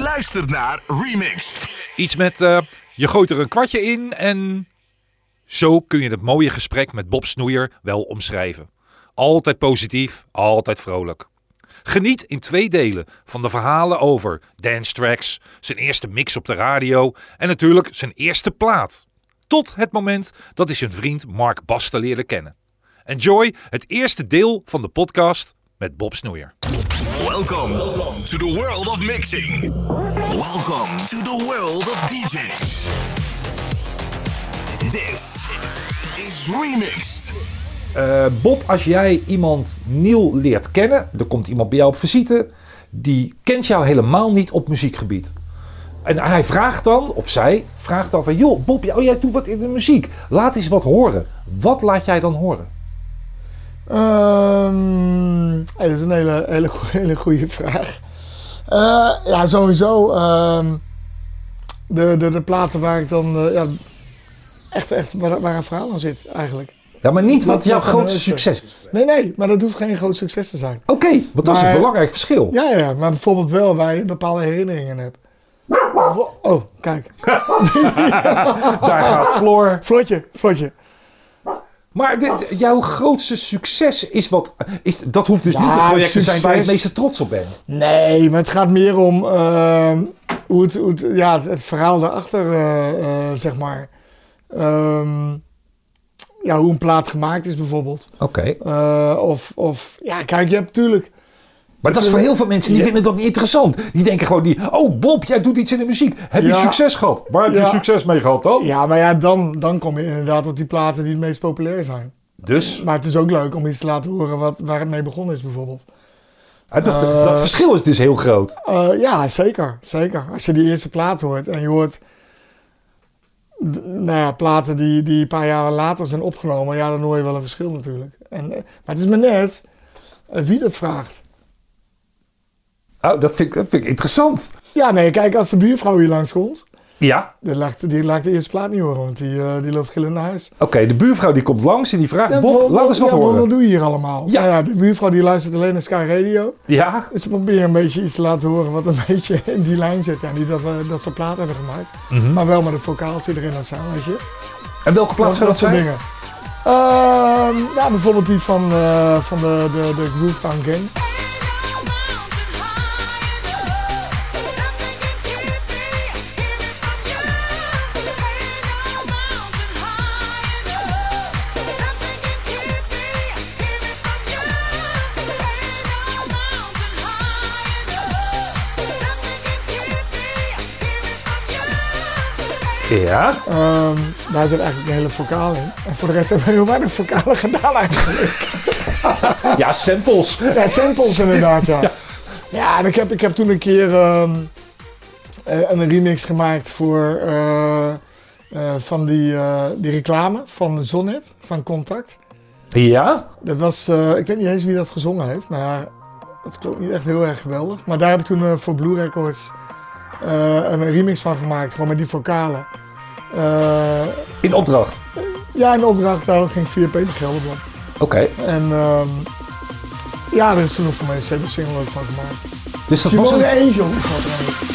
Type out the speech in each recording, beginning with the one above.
luistert naar Remix. Iets met eh, je gooit er een kwartje in en zo kun je het mooie gesprek met Bob Snoeier wel omschrijven. Altijd positief, altijd vrolijk. Geniet in twee delen van de verhalen over dance tracks, zijn eerste mix op de radio en natuurlijk zijn eerste plaat. Tot het moment dat hij zijn vriend Mark Basten leerde kennen. Enjoy het eerste deel van de podcast met Bob Snoeier. Welcome to the world of mixing. Welcome to the world of DJs. This is Remixed. Eh, Bob, als jij iemand nieuw leert kennen, er komt iemand bij jou op visite, die kent jou helemaal niet op muziekgebied. En hij vraagt dan, of zij vraagt dan van, joh, Bob, oh, jij doet wat in de muziek. Laat eens wat horen. Wat laat jij dan horen? Ehm, hey, dat is een hele, hele, goe- hele goede vraag. Eh, ja, sowieso. ehm, de, de, de platen waar ik dan eh, ja, echt, echt waar, waar een verhaal aan zit, eigenlijk. Ja, maar niet wat Wat jouw laat grootste luisteren? succes is. Nee, nee, maar dat hoeft geen groot succes te zijn. Oké, want dat is een Maar- belangrijk verschil. Ja, ja, ja, maar bijvoorbeeld wel waar je bepaalde herinneringen hebt. Oh, kijk. Daar gaat Floor. Vlotje, vlotje. Maar dit, jouw grootste succes is wat... Is, dat hoeft dus Ja, niet het project te zijn waar je het succes. meeste trots op bent. Nee, maar het gaat meer om ehm, hoe het, hoe het, ja, het, het verhaal daarachter, eh, eh, zeg maar. Ehm, ja, hoe een plaat gemaakt is bijvoorbeeld. Oké. Eh, of, of, ja, kijk, je hebt natuurlijk... Maar dat is voor heel veel mensen, die vinden dat niet interessant. Die denken gewoon die, oh Bob, jij doet iets in de muziek. Heb je Ja. succes gehad? Waar heb je Ja. succes mee gehad dan? Ja, maar ja, dan, dan kom je inderdaad op die platen die het meest populair zijn. Dus Maar het is ook leuk om iets te laten horen wat, waar het mee begonnen is bijvoorbeeld. eh, dat, Eh. dat verschil is dus heel groot. Eh, ja, zeker, zeker. Als je die eerste plaat hoort en je hoort d- nou ja, platen die, die een paar jaren later zijn opgenomen, ja, dan hoor je wel een verschil natuurlijk. En, eh, maar het is maar net eh, wie dat vraagt. Oh, dat, vind ik, dat vind ik interessant. Ja, nee, kijk, als de buurvrouw hier langskomt, Ja, die laat, die laat de eerste plaat niet horen, want die, eh, die loopt gillend naar huis. oké, de buurvrouw die komt langs en die vraagt, Ja, Bob, voor- laat eens wat ja, voor horen. Wat doe je hier allemaal? Nou Ja. Ja. ja, de buurvrouw die luistert alleen naar Sky Radio. Ja, Dus ze proberen een beetje iets te laten horen wat een beetje in die lijn zit. Ja, niet dat, we, dat ze plaat hebben gemaakt, Mhm. maar wel met een vocaaltje erin of zo, weet je. en welke plaats zou dat soort zijn? dingen. Ehm, ja, bijvoorbeeld die van, eh, van de, de, de Groovetown Gang. Ja, Ehm, daar zit eigenlijk een hele vocaal in. En voor de rest hebben we heel weinig vocalen gedaan eigenlijk. ja samples. Ja, samples inderdaad, ja. Ja, en ik heb, ik heb toen een keer ehm, eh, een remix gemaakt voor, eh, eh, van die, eh, die reclame van Zonnet, van Contact. Ja, Dat was, eh, ik weet niet eens wie dat gezongen heeft, maar dat klonk niet echt heel erg geweldig. Maar daar heb ik toen eh, voor Blue Records eh, een remix van gemaakt, gewoon met die vocalen. Eh, in opdracht. ja, een opdracht, nou, dat ging via Peter Gelderblad. Oké, En ehm, ja, er is toen nog voor mij een CD single ook van gemaakt. dus dat was Simone een... Angel is dat eh. eigenlijk.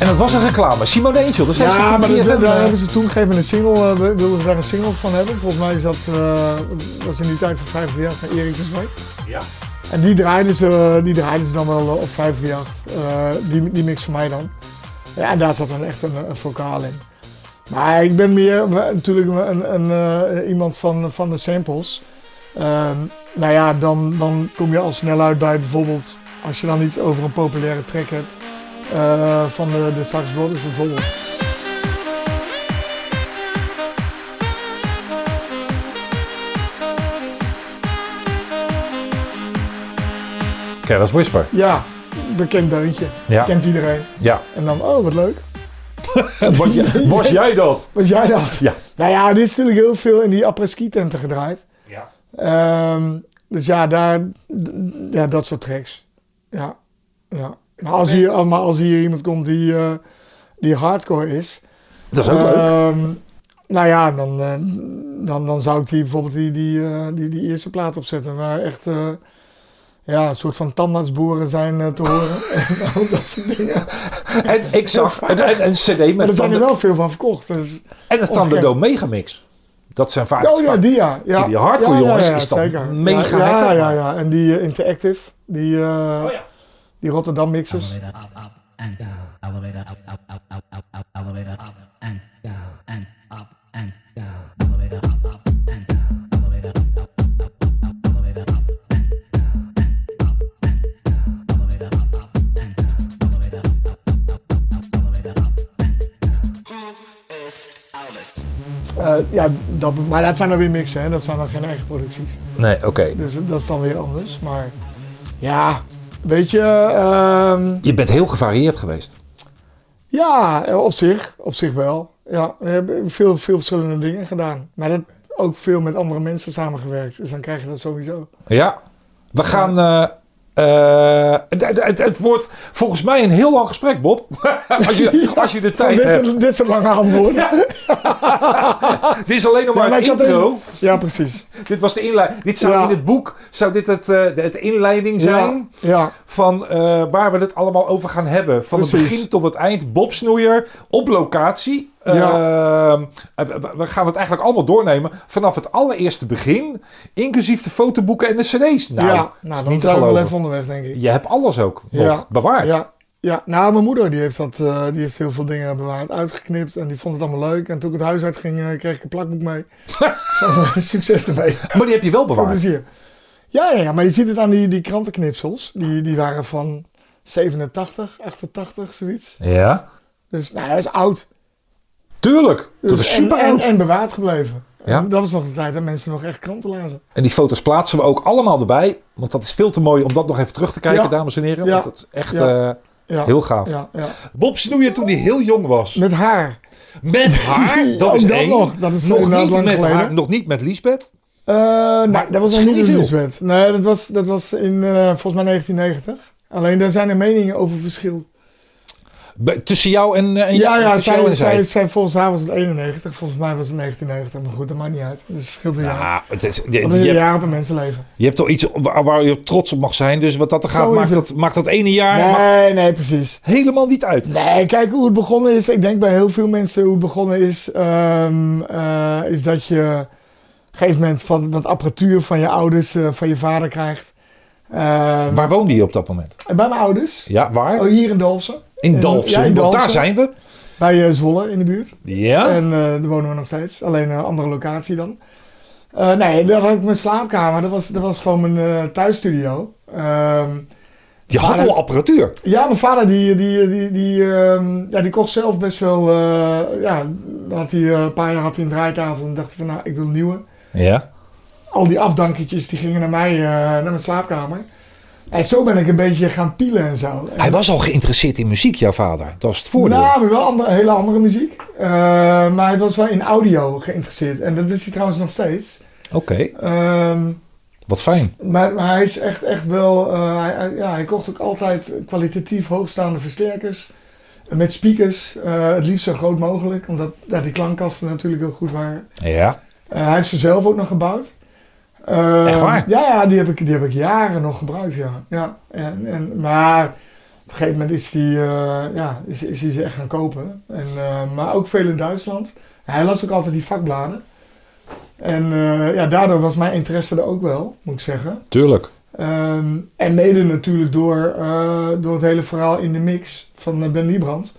En dat was een reclame. Simone Angel, dus Ja, maar dat- dat, daar hebben ze toen gegeven een single, eh, we wilden ze daar een single van hebben. Volgens mij is dat, eh, was in die tijd van 50 jaar van Erik de Zwart. Ja. En die draaiden ze, die draaiden ze dan wel eh, op 538, eh die, die mix van mij dan. Ja, en daar zat dan echt een, eh, een vocaal in. Maar ik ben meer we- natuurlijk een, een, eh, iemand van, van de samples. Ehm, nou ja, dan, dan kom je al snel uit bij bijvoorbeeld, als je dan iets over een populaire track hebt, eh, van de, de Sax Brothers bijvoorbeeld. Careless Whisper. Ja, bekend deuntje. Ja, Kent iedereen. ja. En dan, oh wat leuk. Was jij- was jij dat? Was jij dat? Ja. Nou ja, dit is natuurlijk heel veel in die après-ski tenten gedraaid. Ja. Ehm, dus ja, daar, d- ja, dat soort tracks. Ja. ja. Maar, als hier, maar als hier iemand komt die, eh, die hardcore is. Dat is ook leuk. ehm, Nou ja, dan, eh, dan, dan zou ik die, bijvoorbeeld die, die, eh, die, die eerste plaat opzetten. Waar echt eh, ja, een soort van tandartsboren zijn eh, te horen. en al dat soort dingen. En ik zag een, een, een cd Maar met er zijn er Thunder- wel veel van verkocht. Dus. en een Thunderdome megamix. Dat zijn vaak... Oh ja, die ja. ja. Die hardcore Ja, ja, jongens ja, is dan zeker. mega Oh ja, ja, lekker, ja, man. ja. En die eh, Interactive, die, eh, die Rotterdam mixers. Elevator up, up and down. Elevator up, up, up, up, up, up. Elevator up and down and up and down. Elevator up, up and down. Elevator up, up, up, up, up, up. Elevator up and down and up and down. Elevator up, up and down. Elevator up, up, up, up, up, up. Elevator up and down. Eh, ja, dat, maar dat zijn dan weer mixen, hè. dat zijn dan geen eigen producties. Nee, oké. Dus dat is dan weer anders. Maar ja, weet je, ehm, Je bent heel gevarieerd geweest. ja, op zich, op zich wel. Ja, we hebben veel, veel verschillende dingen gedaan. Maar dat ook veel met andere mensen samengewerkt. Dus dan krijg je dat sowieso. Ja. We gaan... eh, eh, het, het- het, het wordt volgens mij een heel lang gesprek, Bob. als, je, als je de tijd dit, hebt. soort, dit soort lange antwoorden. Ja, Dit is alleen nog maar maar een ik had intro. deze- ja, precies. Dit was de inleiding. Dit zou Ja. in het boek zou dit het, eh, de het inleiding zijn Ja, ja. van eh, waar we het allemaal over gaan hebben. Van het Precies. begin tot het eind. Bob Snoeier op locatie. Ehm, eh, we- we gaan het eigenlijk allemaal doornemen vanaf het allereerste begin, inclusief de fotoboeken en de CD's. Nou, ja. dat is nou dan niet te zijn we wel geloven. even onderweg, denk ik. Je hebt alles ook nog Ja. bewaard. Ja, ja. nou, mijn moeder die heeft, dat, eh, die heeft heel veel dingen bewaard, uitgeknipt en die vond het allemaal leuk. En toen ik het huis uit ging, eh, kreeg ik een plakboek mee. Van, eh, Succes ermee. Maar die heb je wel Veel bewaard. plezier. Ja, ja, ja, maar je ziet het aan die, die krantenknipsels. Ah. Die, die waren van 87, 88, zoiets. Ja, Dus nou, dat is oud. tuurlijk. Dat Dus is en- super en, en, bewaard gebleven. Ja. En Dat was nog de tijd dat mensen nog echt kranten lazen. En die foto's plaatsen we ook allemaal erbij. Want dat is veel te mooi om dat nog even terug te kijken, Ja. dames en heren. Ja. Want dat is echt Ja. eh, Ja. heel gaaf. Ja, ja. Bob Snoeier toen hij heel jong was. Met haar. Met haar, dat Ook is dat één. nog. Dat is nog inderdaad niet lang met geleden. haar, nog niet met Liesbeth. Eh, Maar nee, dat was nog misschien niet in niet veel. Liesbeth. Nee, dat was, dat was in eh, volgens mij 1990. Alleen daar zijn er meningen over verschil. Be- Tussen jou en, eh, en Ja, jou- ja, tussen jou zij, en zij, zij, volgens haar was het 91, volgens mij was het 1990. Maar goed, dat maakt niet uit. Dus scheelt een jaar. Ja, het is, je, je Want eh, een hebt, jaar op een mensenleven. je hebt toch iets waar, waar je trots op mag zijn. Dus wat dat er gaat, Zo is maakt het. dat, maakt dat ene jaar maakt Nee, nee, precies. helemaal niet uit. Nee, kijk hoe het begonnen is. Ik denk bij heel veel mensen hoe het begonnen is, ehm, eh, is dat je op een gegeven moment van wat apparatuur van je ouders, eh, van je vader krijgt. Ehm, Waar woonde je op dat moment? Bij mijn ouders. Ja, waar? Oh, hier in Dalfsen. In in- Dalfsen, ja, in want daar Dalfsen. zijn we. Bij eh, Zwolle in de buurt. Ja. En eh, daar wonen we nog steeds. Alleen een andere locatie dan. Eh, nee, daar had ik mijn slaapkamer. Dat was, dat was gewoon mijn eh, thuisstudio. Ehm, je had al apparatuur. ja, mijn vader die, die, die, die, ehm, ja, die kocht zelf best wel... eh, ja, dan had hij, eh, een paar jaar had hij een draaitafel en dacht hij van nou, ik wil een nieuwe. Ja. Al die afdankertjes die gingen naar mij, eh, naar mijn slaapkamer. En zo ben ik een beetje gaan pielen en zo. En- Hij was al geïnteresseerd in muziek, jouw vader. Dat is het voordeel. Nou, maar wel andere, hele andere muziek. Eh, maar hij was wel in audio geïnteresseerd. En dat is hij trouwens nog steeds. Oké, Ehm, wat fijn. maar, maar hij is echt, echt wel. eh, hij, hij- ja, hij kocht ook altijd kwalitatief hoogstaande versterkers. Met speakers. eh, het liefst zo groot mogelijk. Omdat ja, die klankkasten natuurlijk heel goed waren. Ja. Eh, hij heeft ze zelf ook nog gebouwd. Eh, Echt waar? Ja, ja die, heb ik, die heb ik jaren nog gebruikt, ja. ja en, en, maar op een gegeven moment is hij ja, is, is die ze echt gaan kopen. En, eh, maar ook veel in Duitsland. Hij las ook altijd die vakbladen. En eh, ja, daardoor was mijn interesse er ook wel, moet ik zeggen. Tuurlijk. Ehm, en mede natuurlijk door, eh, door het hele verhaal in de mix van eh, Ben Liebrand.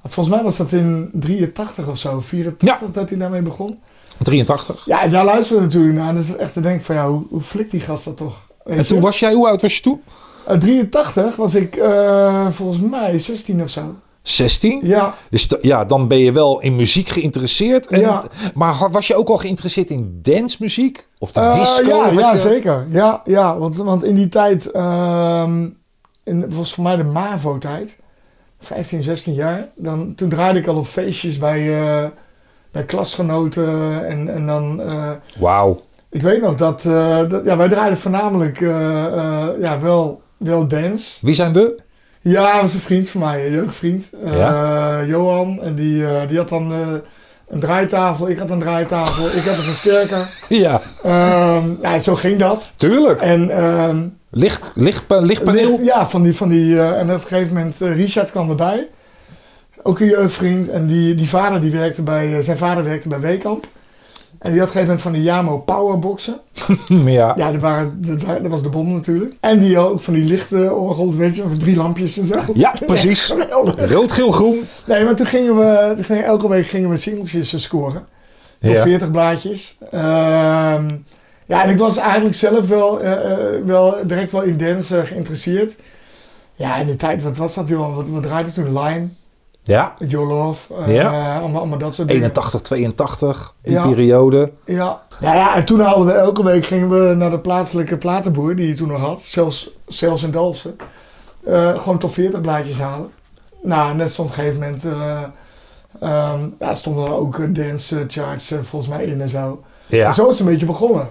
Want volgens mij was dat in 83 of zo, 84 dat hij daarmee begon. 83. Ja, en daar luisteren we natuurlijk naar. Dus echt te denken van ja, hoe, hoe flikt die gast dat toch? Weet En toen je? was jij, hoe oud was je toen? Eh, 83 was ik eh, volgens mij 16 of zo. 16. Ja, Dus da- ja, dan ben je wel in muziek geïnteresseerd. En, Ja. Maar ha- was je ook al geïnteresseerd in dancemuziek? Of de Eh, disco? ja, Had ja je- zeker. Ja, ja want, want in die tijd, ehm in, het was voor mij de MAVO-tijd, 15, 16 jaar, dan, toen draaide ik al op feestjes bij, eh, bij klasgenoten. En, en dan, eh, Wauw. ik weet nog dat, eh, dat ja, wij draaiden voornamelijk eh, eh, ja, wel, wel dance. Wie zijn we? Ja, dat was een vriend van mij, een jeugdvriend. Eh, Johan. En die, eh, die had dan eh, een draaitafel, ik had een draaitafel, ik had een versterker. Ja, Ehm, ja, zo ging dat. tuurlijk. En ehm, Licht, licht, lichtpaneel. Ja, van die, van die, eh, en op een gegeven moment, eh, Richard kwam erbij. Ook een jeugdvriend. En die, die vader, die werkte bij, eh, zijn vader werkte bij Weekamp. En die had op een gegeven moment van die Yamo powerboxen. Hm, Ja. Ja, dat, waren, dat, waren- dat was de bom natuurlijk. En die had ook van die lichte orgel, weet je, of drie lampjes en zo. ja, precies. Geweldig. Rood, geel, groen. Nee, maar toen gingen we, toen gingen, elke week gingen we singeltjes eh, scoren. Tot Ja. 40 blaadjes. Ehm, ja, en ik was eigenlijk zelf wel, eh, eh, wel direct wel in dance eh, geïnteresseerd. Ja, in de tijd, wat was dat joh? Wat, wat draaide toen? Line, Ja. Your Love, eh, Ja. allemaal, allemaal dat soort dingen. 81, 82, die Ja. periode. Ja. Nou ja, en toen hadden we elke week gingen we naar de plaatselijke platenboer die je toen nog had, zelfs, zelfs in Dalfsen. Eh, gewoon tot 40 blaadjes halen. Nou, en dat stond op een gegeven moment, eh ehm, ja, stonden er ook eh, dance eh, charts eh, volgens mij in en zo. Ja. En zo is het een beetje begonnen.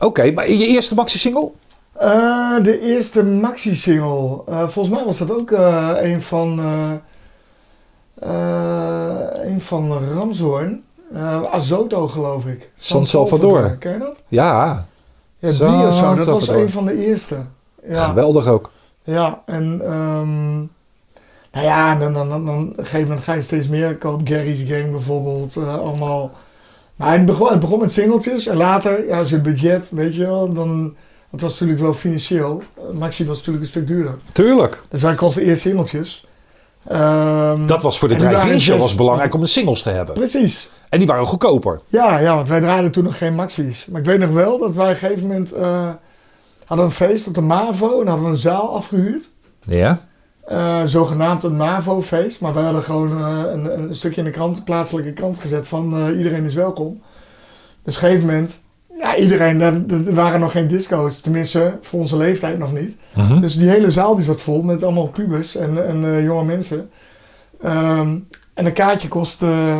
Oké, maar je eerste maxi-single? Eh, de eerste maxi-single, eh, volgens mij was dat ook eh, een van, eh eh, een van Ramshoorn. Eh, Azoto geloof ik. San Salvador. Ken je dat? Ja, Ja, Zo, die of zo. Dat zo was verdorie. een van de eerste. Ja, geweldig ook. ja en ehm, nou ja, en dan, dan, dan, dan op een gegeven moment ga je steeds meer kopen. Gary's Gang bijvoorbeeld, eh, allemaal. Maar het begon, het begon met singeltjes en later, ja, als je het budget, weet je wel, dan... Het was natuurlijk wel financieel. Eh, Maxi was natuurlijk een stuk duurder. Tuurlijk. Dus wij kochten eerst singeltjes. Ehm, Dat was voor de En die waren drive-in show zes- was belangrijk om de singles te hebben. Precies. En die waren goedkoper. Ja, ja, want wij draaiden toen nog geen Maxi's. Maar ik weet nog wel dat wij op een gegeven moment eh, hadden een feest op de MAVO en hadden we een zaal afgehuurd. Ja. Eh, zogenaamd een MAVO-feest, maar wij hadden gewoon eh, een, een stukje in de krant, plaatselijke krant gezet van eh, iedereen is welkom. Dus op een gegeven moment, ja, iedereen, er, er waren nog geen disco's, tenminste voor onze leeftijd nog niet. Dus die hele zaal die zat vol met allemaal pubers en, en eh, jonge mensen. Ehm, en een kaartje kost, eh,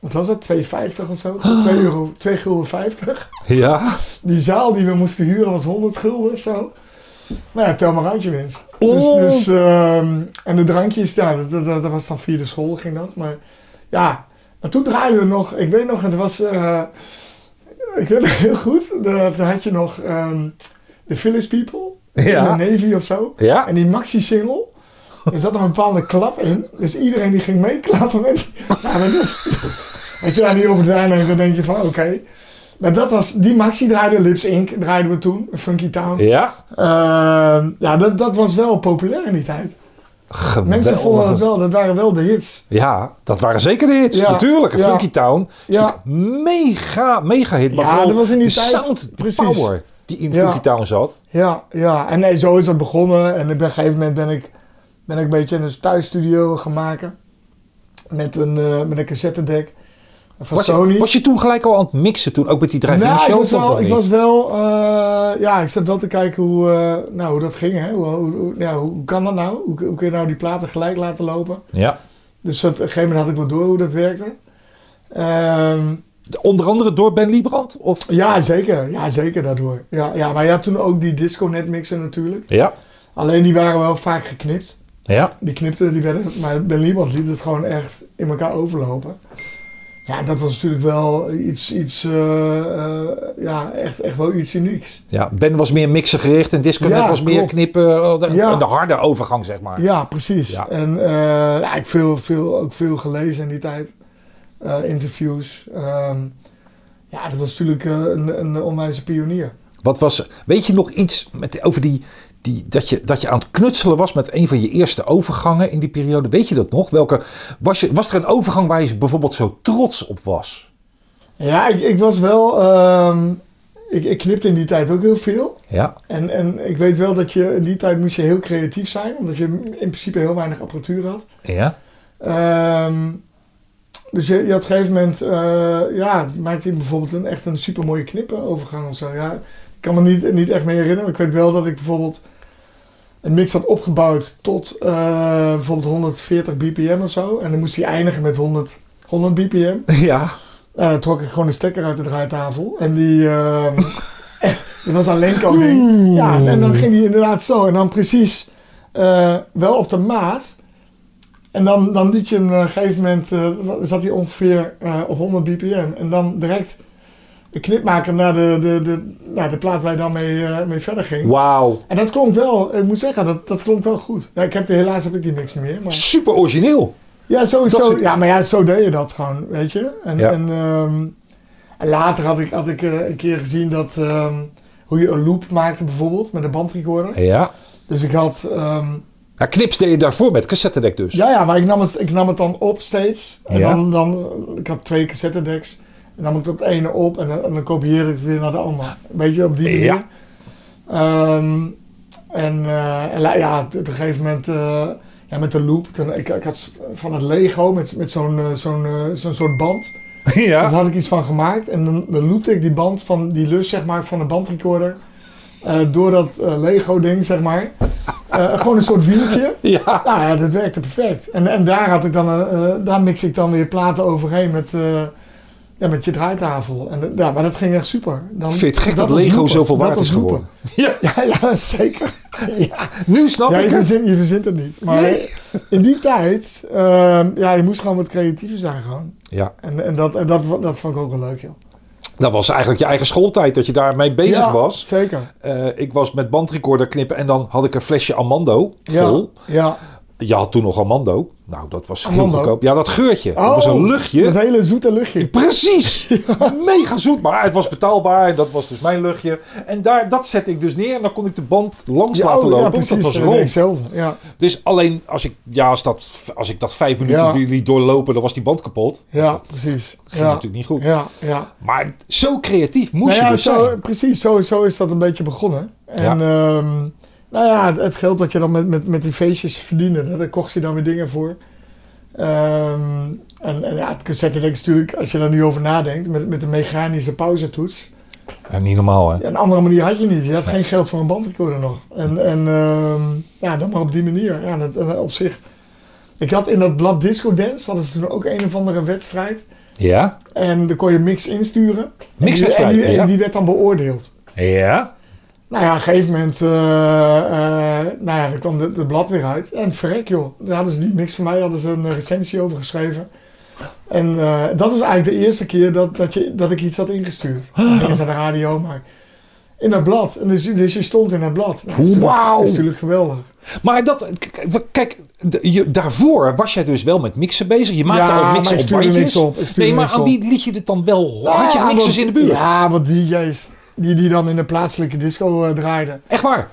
wat was dat, 2,50 of zo? 2 euro, 2 gulden 50. Ja. Die zaal die we moesten huren was 100 gulden of zo. Maar ja, tel maar uit je winst. Oh. Dus, dus, ehm, en de drankjes, ja, dat, dat, dat was dan via de school ging dat. Maar ja, maar toen draaiden we nog, ik weet nog, het was, eh, ik weet nog heel goed, dat had je nog ehm The Village People Ja. in de Navy of zo. Ja. En die maxi-single, er zat nog een bepaalde klap in. Dus iedereen die ging meeklappen met... Ja, dat is, als je daar niet over nadenkt, dan denk je van oké. Maar dat was, die maxi draaide, Lips Inc. draaiden we toen, Funky Town. Ja. Ehm, ja, dat, dat was wel populair in die tijd. Geweldig. Mensen vonden het wel, dat waren wel de hits. Ja, dat waren zeker de hits. Ja. Natuurlijk. Ja. Funky Town. is Ja. natuurlijk Mega, mega hit. Maar Ja, vooral dat was in die de tijd- sound, de precies. power die in Ja. Funky Town zat. Ja, ja. En nee, zo is dat begonnen. En op een gegeven moment ben ik, ben ik een beetje een thuisstudio gaan maken. Met een, eh met een cassettedek van Was Sony. je, was je toen gelijk al aan het mixen toen? Ook met die drive-in Nou, ik show? was of dat wel, ik niet? was wel eh, ja, ik zat wel te kijken hoe, eh, nou, hoe dat ging. Hè? Hoe, hoe, hoe- ja, hoe kan dat nou? Hoe, hoe kun je nou die platen gelijk laten lopen? Ja. Dus dat, op een gegeven moment had ik wel door hoe dat werkte. Ehm, Onder andere door Ben Liebrand? Of? ja, zeker. Ja, zeker daardoor. Ja, ja, maar ja, toen ook die disco netmixen natuurlijk. Ja. Alleen die waren wel vaak geknipt. Ja. Die knipten, die werden, maar Ben Lieband liet het gewoon echt in elkaar overlopen. Ja, dat was natuurlijk wel iets, iets eh, eh, ja, echt, echt wel iets unieks. ja. Ben was meer mixen gericht en Disconnect Ja, was meer klopt. knippen. eh, De, Ja. de harde overgang, zeg maar. Ja, precies. Ja. En eh, ja, ik veel, veel, ook veel gelezen in die tijd. Eh, interviews. Ehm, ja, dat was natuurlijk eh, een, een onwijze pionier. Wat was, weet je nog iets met, over die, die, dat, je, dat je aan het knutselen was met een van je eerste overgangen in die periode? Weet je dat nog? Welke, was, je, was er een overgang waar je bijvoorbeeld zo trots op was? Ja, ik, ik was wel... ehm, ik, ik knipte in die tijd ook heel veel. Ja, En, en ik weet wel dat je in die tijd moest je heel creatief zijn. Omdat je in principe heel weinig apparatuur had. ja, Ehm, dus je, je had op een gegeven moment, eh, ja, maakte hij bijvoorbeeld een, echt een super mooie knippenovergang of zo. Ja, ik kan me niet, niet echt meer herinneren. maar Ik weet wel dat ik bijvoorbeeld een mix had opgebouwd tot eh, bijvoorbeeld 140 bpm of zo. En dan moest hij eindigen met 100, 100 bpm. ja. En dan Eh, trok ik gewoon de stekker uit de draaitafel. En die, ehm dat was een Lenko ding. Ja, en dan ging die inderdaad zo. En dan precies eh, wel op de maat. En dan, dan liet je hem eh, op een gegeven moment, eh, zat hij ongeveer eh, op 100 bpm. En dan direct de knip maken naar de, de, de, naar de plaat waar je dan mee, eh, mee verder ging. Wauw. En dat klonk wel, ik moet zeggen, dat, dat klonk wel goed. Ja, ik heb de, helaas heb ik die mix niet meer. Maar... Super origineel. Ja, Dat sowieso. soort- Ja, maar ja, zo deed je dat gewoon, weet je. En, Ja. en, ehm, en later had ik, had ik eh, een keer gezien dat, ehm, hoe je een loop maakte bijvoorbeeld, met een bandrecorder. Ja. Dus ik had, ehm, ja. Knips deed je daarvoor met cassettedek dus. ja, ja, maar ik nam het, ik nam het dan op steeds. En Ja. dan, dan, ik had twee cassettedecks. En nam ik het op het ene op en, dan- en dan kopieerde ik het weer naar de andere. Weet je, op die manier. Ja. Ehm, en eh, en la- ja, t- op een gegeven moment eh, ja, met de loop. Toen, ik, ik had s- van het Lego met, met zo'n eh, zo'n eh, zo'n soort band. Daar ja. had ik iets van gemaakt. En dan, dan loopte ik die band van die lus, zeg maar, van de bandrecorder. eh, door dat Lego-ding, zeg maar. Eh, gewoon een soort wieltje. Ja. Nou ja, dat werkte perfect. En, en daar, had ik dan, eh, eh, daar mix ik dan weer platen overheen met, eh, ja, met je draaitafel. En, dat- ja, maar dat ging echt super. Dan, Vind je het gek dat was Lego loopen. zoveel Dat waard was is geworden? Ja. loopen. Ja, ja, zeker. Nu snap Ja, ik je, het. verzint, je verzint het niet. Maar eh, Nee. in die tijd, ehm, ja, je moest gewoon wat creatiever zijn gewoon. Ja. En, en, dat, en dat, dat vond ik ook wel leuk, joh. Dat was eigenlijk je eigen schooltijd dat je daarmee bezig Ja, was. Zeker. Eh, ik was met bandrecorder knippen en dan had ik een flesje Amando Ja, vol. Ja. Je had toen nog Amando. Nou, dat was heel Amando? goedkoop. Ja, dat geurtje. dat was een luchtje. Oh. Dat hele zoete luchtje. Precies. Mega zoet. Maar het was betaalbaar. En dat was dus mijn luchtje. En daar, dat zette ik dus neer. En dan kon ik de band langs Ja, laten oh, lopen. ja, want precies. dat was Dat deed ik rond. hetzelfde, Ja. Dus alleen als ik, ja, als, dat, als ik dat vijf minuten Ja. liet doorlopen, dan was die band kapot. ja, dat precies. ging ja. natuurlijk niet goed. Ja, ja. Maar zo creatief moest Nou ja, je dus zo, zijn. precies, zo, zo is dat een beetje begonnen. En Ja. ehm, nou ja, het, het geld dat je dan met, met, met die feestjes verdiende, daar- daar kocht je dan weer dingen voor. Ehm, en, en ja, het cassettedek is natuurlijk, als je daar nu over nadenkt, met, met de mechanische pauzetoets. Ja, niet normaal, hè? Ja, een andere manier had je niet. Je had geen geld voor een bandrecorder nog. En, en ehm, ja, dan maar op die manier. Ja, dat, en op zich. Ik had in dat blad Disco Dance, hadden ze toen ook een of andere wedstrijd. Ja? En dan kon je mix insturen. En die- Mixwedstrijd, en die- ja. en die werd dan beoordeeld. Ja? Nou ja, op een gegeven moment, eh eh, nou ja, dan kwam de, de blad weer uit. En verrek joh, daar hadden ze die mix van mij, hadden ze een eh, recensie over geschreven. En eh, dat was eigenlijk de eerste keer dat, dat, je, dat ik iets had ingestuurd. Ah. Niet eens aan de radio, maar in dat blad. En dus, dus je stond in het blad. Nou, dat is natuurlijk- Wauw. Dat is natuurlijk geweldig. Maar dat, k- kijk, d- je, daarvoor was jij dus wel met mixen bezig. Je maakte Ja, al maar mixen ik op stuurde bandjes. niks op. Ik stuurde Nee, maar niks aan op. wie liet je dit dan wel horen? Had je Ja, mixers Ah, want- in de buurt? Ja, want DJ's die, die dan in de plaatselijke disco eh, draaiden. Echt waar?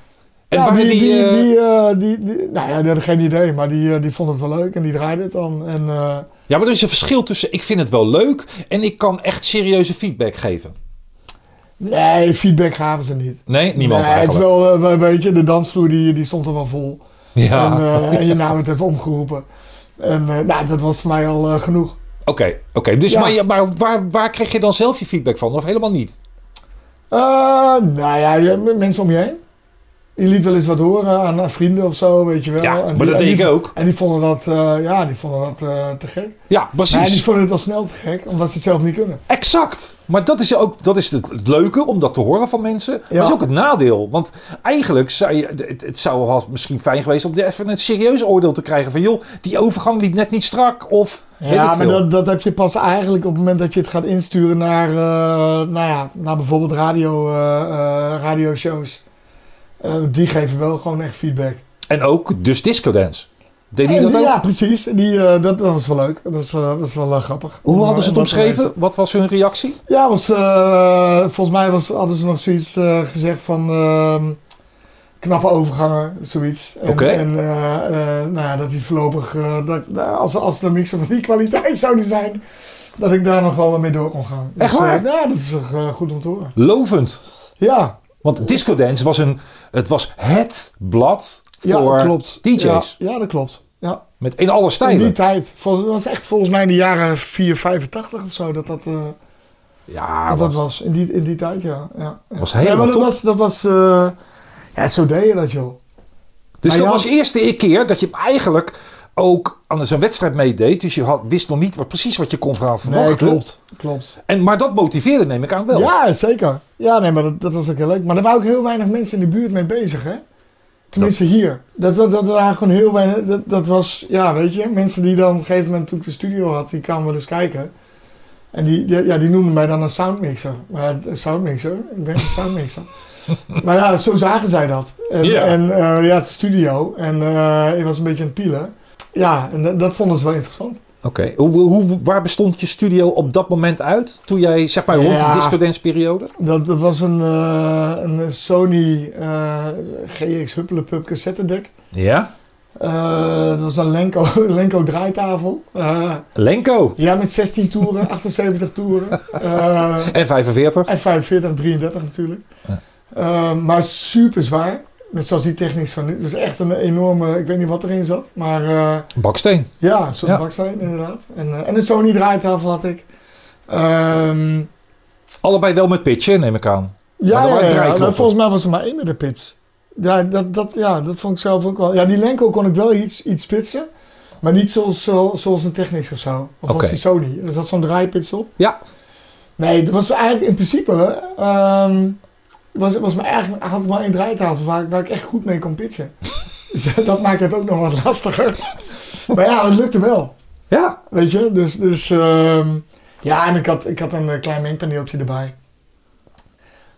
En ja, waren die, die, die, eh, eh, die, die- nou ja, die hadden geen idee, maar die, eh, die vonden het wel leuk en die draaiden het dan. En, eh, Ja, maar er is een verschil tussen ik vind het wel leuk en ik kan echt serieuze feedback geven. Nee, feedback gaven ze niet. Nee, niemand nee, het is eigenlijk. wel, eh, we- weet je, de dansvloer die, die stond er wel vol. Ja, En, eh, en je naam het even omgeroepen. En eh, nou, dat was voor mij al eh, genoeg. oké. oké. Dus Ja. maar, je- maar waar, waar kreeg je dan zelf je feedback van? Of helemaal niet? Eh, nou ja, je- m- mensen om je heen. Je liet wel eens wat horen aan, aan vrienden of zo, weet je wel. Ja, maar die- dat deed die- ik ook. En die vonden dat, eh, ja, die vonden dat eh, te gek. Ja, precies. Nee, die vonden het al snel te gek, omdat ze het zelf niet kunnen. Exact. Maar dat is ook dat is het, het leuke om dat te horen van mensen. Maar dat is ook het nadeel. Want eigenlijk zou je, het, het zou wel misschien fijn geweest om even een serieus oordeel te krijgen van joh, die overgang liep net niet strak of weet ik Ja, maar veel. dat, dat heb je pas eigenlijk op het moment dat je het gaat insturen naar, eh, nou ja, naar bijvoorbeeld radio, eh eh, radioshows. Eh, die geven wel gewoon echt feedback. En ook dus disco dance. Deed die En dat die- ook? ja, precies. Die, eh, dat, dat was wel leuk. Dat is, eh, dat is wel eh, grappig. Hoe Om, hadden eh, ze het om dat te omschreven? lezen. Wat was hun reactie? Ja, was, eh, volgens mij was, hadden ze nog zoiets eh, gezegd van ehm, knappe overgangen, zoiets. En, Oké. en eh, eh, nou ja, dat die voorlopig, eh, dat, nou, als, als de mixen van die kwaliteit zouden zijn, dat ik daar nog wel mee door kon gaan. Echt waar? eh, nou, dat is toch, eh, goed om te horen. Lovend. Ja, Want Disco Dance was een, het was het blad ja voor klopt. DJ's. Ja, ja, dat klopt. Ja. Met in alle In die stijlen. tijd, volgens, was echt volgens mij in de jaren 4, 85 of zo, dat dat... eh, Ja, Dat, dat Ah, was, was in die, in die tijd, ja. ja, ja. was Nee, helemaal maar dat top. was, dat was eh, ja, zo deed je dat joh. dus maar dat ja. was de eerste keer dat je eigenlijk ook aan zo'n wedstrijd meedeed. Dus je had, wist nog niet wat, precies wat je kon gaan verwachten. klopt. En, maar dat motiveerde neem ik aan wel. Ja, zeker. Ja, nee, maar dat, dat was ook heel leuk. Maar er waren ook heel weinig mensen in de buurt mee bezig, hè. Tenminste hier. Dat, dat, dat waren gewoon heel weinig. Dat, dat was, ja, weet je, mensen die dan op een gegeven moment toen ik de studio had, die kwamen wel eens kijken. En die, die- ja, die noemden mij dan een soundmixer. Maar ja, een soundmixer? Ik ben een soundmixer. maar ja, zo zagen zij dat. En, Ja. en eh, ja, het is studio. En eh, ik was een beetje aan het pielen. Ja, en dat- dat vonden ze wel interessant. Oké, hoe, hoe, waar bestond je studio op dat moment uit? Toen jij, zeg maar, rond Ja. de disco dance periode? Dat, dat was een, eh, een Sony eh, GX Huppelepup cassettedek. Ja. Eh dat was een Lenko, Lenko draaitafel. Eh, Lenko. ja, met 16 toeren, 78 toeren. Eh, En 45. en 45, 33 natuurlijk. Ja. Eh, maar super zwaar. Net zoals die technisch van nu. Dus echt een enorme, ik weet niet wat erin zat. Maar eh, Baksteen. ja, een soort Ja. baksteen inderdaad. En, eh, en een Sony draaitafel had ik. Ehm Allebei wel met pitchen, neem ik aan. Ja, Maar er ja, waren ja, drie ja. knoppen. volgens mij was er maar één met de pits. Ja dat, dat, ja, dat vond ik zelf ook wel. Ja, die Lenko kon ik wel iets, iets pitsen. Maar niet zoals, zo- zoals een Technics of zo. Of Oké. als die Sony. Er zat zo'n draaipits op. Ja. Nee, dat was eigenlijk in principe... ehm was, was me eigenlijk, had ik maar één draaitafel waar, ik- waar ik echt goed mee kon pitchen. dus ja, dat maakt het ook nog wat lastiger. maar ja, het lukte wel. Ja. Weet je, dus, dus ehm, ja, en ik had, ik had een eh, klein mengpaneeltje erbij.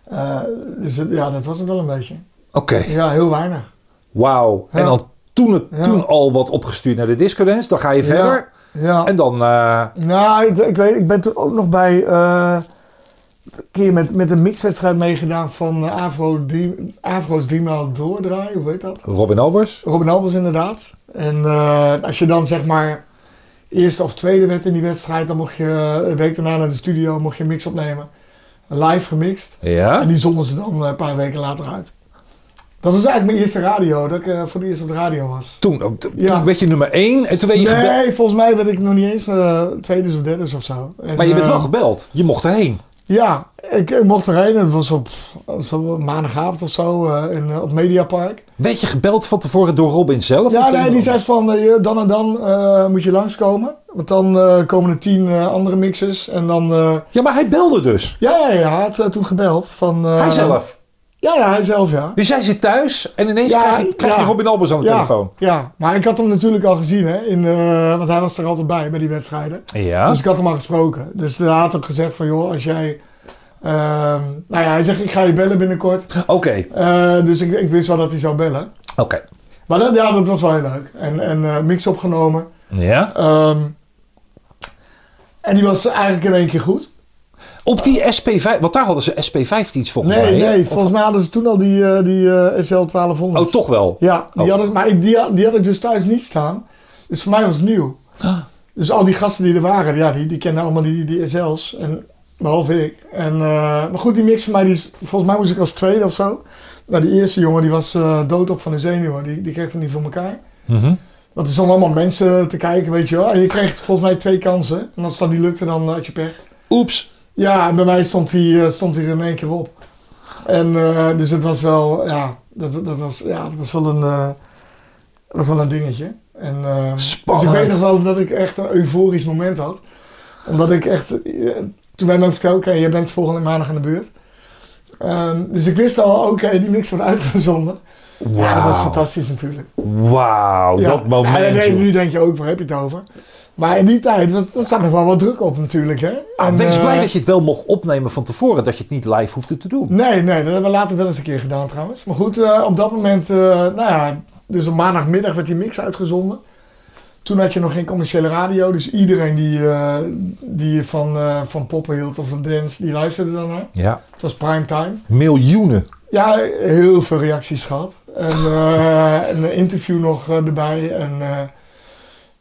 Eh, dus het- ja, dat was het wel een beetje. Oké. Ja, heel weinig. Wauw. Ja. En dan toen, het, Ja. toen al wat opgestuurd naar de disco dance. Dan ga je verder. Ja. En dan... eh, Nou, ik, ik, weet, ik ben toen ook nog bij. eh, een keer met, met een mixwedstrijd meegedaan van eh, Afro drie, Afro's driemaal doordraaien, hoe heet dat? Robin Albers. Robin Albers inderdaad. En eh, als je dan zeg maar eerste of tweede werd in die wedstrijd, dan mocht je eh, een week daarna naar de studio, mocht je een mix opnemen. Live gemixt. En Ja. die zonden ze dan eh, een paar weken later uit. Dat was eigenlijk mijn eerste radio, dat ik eh, voor de eerst op de radio was. Toen, ook- t- toen Ja. werd je nummer één. En toen werd je gebeld. Nee, volgens mij werd ik nog niet eens eh tweede of derde of zo. En, Maar je bent eh, wel gebeld. Je mocht erheen. Ja, ik, ik mocht erheen. Het was op, was op maandagavond of zo eh, in, eh, op Mediapark. Werd je gebeld van tevoren door Robin zelf? Ja, of nee, tegen- die zei van eh, je- dan en dan eh, moet je langskomen. Want dan eh, komen er tien eh, andere mixers. En dan... eh, Ja, maar hij belde dus. ja, ja, ja, hij had eh, toen gebeld. Van, eh, hij zelf. Ja, ja, hij zelf, ja. Dus jij zit thuis en ineens Ja, krijg, je, krijg je ja. Robin Albers aan de ja, telefoon. Ja, maar ik had hem natuurlijk al gezien, hè, in, eh, want hij was er altijd bij, bij die wedstrijden. Ja. Dus ik had hem al gesproken. Dus hij had ook gezegd van, joh, als jij... ehm, nou ja, hij zegt, ik ga je bellen binnenkort. Oké, Eh, dus ik, ik wist wel dat hij zou bellen. oké. Maar dat, ja, dat was wel heel leuk. En, en eh, mix opgenomen. Ja. Ehm, en die was eigenlijk in één keer goed. Op die SP5, want daar hadden ze SP15's volgens Nee, mij. hè? nee, Of- volgens mij hadden ze toen al die, eh, die eh, SL1200. Oh, toch wel. Ja, die Oh. had ik, maar ik- die, had- die had ik dus thuis niet staan. Dus voor mij was het nieuw. Dus al die gasten die er waren, ja, die, die kenden allemaal die, die SL's. En, behalve ik. En, eh, maar goed, die mix van mij, die, is- volgens mij moest ik als tweede of zo. Nou, die eerste jongen, die was eh dood op van de zenuwen. Die, die kreeg het niet voor elkaar. Mhm. Want er stonden allemaal mensen te kijken, weet je wel. En je kreeg volgens mij twee kansen. En als het dan niet lukte, dan had je pech. Oeps. Ja, en bij mij stond hij, eh, stond hij er in één keer op. En eh, dus het was wel, ja, dat, dat, was, ja, dat was, wel een, eh, dat was wel een dingetje. En, eh, Spannend. Dus ik weet nog wel dat ik echt een euforisch moment had. Omdat ik echt, eh, toen wij me vertelden, oké, jij bent volgende maandag aan de beurt. Ehm, dus ik wist al, oké, die mix wordt uitgezonden. Ja, dat was Wauw. fantastisch natuurlijk. Wauw, Ja. dat moment. Ja, nee, joh. nu denk je ook, waar heb je het over? Maar in die tijd, was- daar zat nog wel wat druk op natuurlijk. Hè? Ah, En, wees eh, blij dat je het wel mocht opnemen van tevoren. Dat je het niet live hoefde te doen. Nee, nee, dat hebben we later wel eens een keer gedaan trouwens. Maar goed, eh, op dat moment, eh, nou ja, dus op maandagmiddag werd die mix uitgezonden. Toen had je nog geen commerciële radio, dus iedereen die, eh, die van, eh, van poppen hield of van dance, die luisterde daarnaar. Ja. Het was primetime. Miljoenen. Ja, heel veel reacties gehad. En eh, en een interview nog eh, erbij. En eh,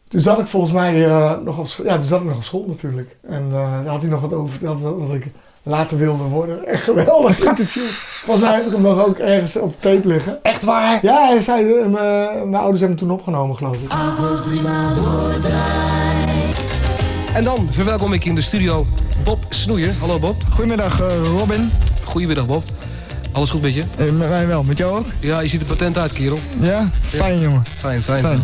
toen zat ik volgens mij eh, nog op school. Ja, toen zat ik nog op school natuurlijk. En eh, daar had hij nog wat over dat, wat wat ik later wilde worden. Echt geweldig interview. Volgens mij heb ik hem nog ook ergens op tape liggen. Echt waar? Ja, hij zei, eh, mijn mijn ouders hebben hem toen opgenomen geloof ik. En dan verwelkom ik in de studio Bob Snoeier. Hallo Bob. Goedemiddag eh, Robin. Goedemiddag Bob. Alles goed met je? met mij wel, met jou ook? Ja, je ziet er patent uit, kerel. Ja? Fijn jongen. Fijn, fijn. Fijn.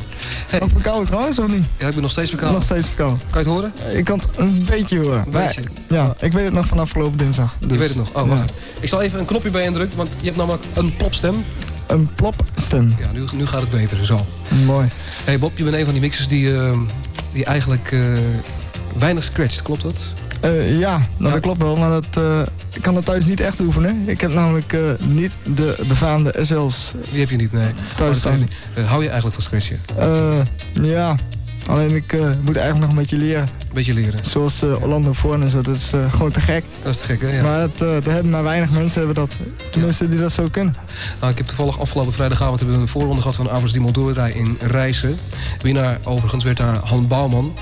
Hey. Nog verkouden trouwens of niet? Ja, ik ben nog steeds verkouden. steeds verkouden. Kan je het horen? Ik kan het een beetje horen. Een beetje. Maar ja, ik weet het nog vanaf afgelopen dinsdag. Dus. Je weet het nog. Oh, wacht. Ik zal even een knopje bij indrukken, want je hebt namelijk een plopstem. Een plopsten. Ja, nu, nu gaat het beter, zo. Mooi. hey Bob, je bent een van die mixers die, eh, die eigenlijk eh, weinig scratcht, klopt dat? Eh, ja, nou, Ja. dat klopt wel, maar dat, eh, ik kan dat thuis niet echt oefenen. Ik heb namelijk eh, niet de befaamde SL's Die heb je niet, nee. thuis staan. Eh, hou je eigenlijk van scratchen? Eh, ja, alleen ik eh, moet eigenlijk nog een beetje leren. Een beetje leren. Zoals eh, Orlando Voorn en zo, dat is eh, gewoon te gek. Dat is te gek, hè? Ja. Maar dat, eh, dat hebben maar weinig mensen hebben dat. Tenminste, die dat zo kunnen. Nou, ik heb toevallig afgelopen vrijdagavond hebben we een voorronde gehad van Avers Dimondora in Rijssen. Winnaar overigens werd daar Han Bouwman.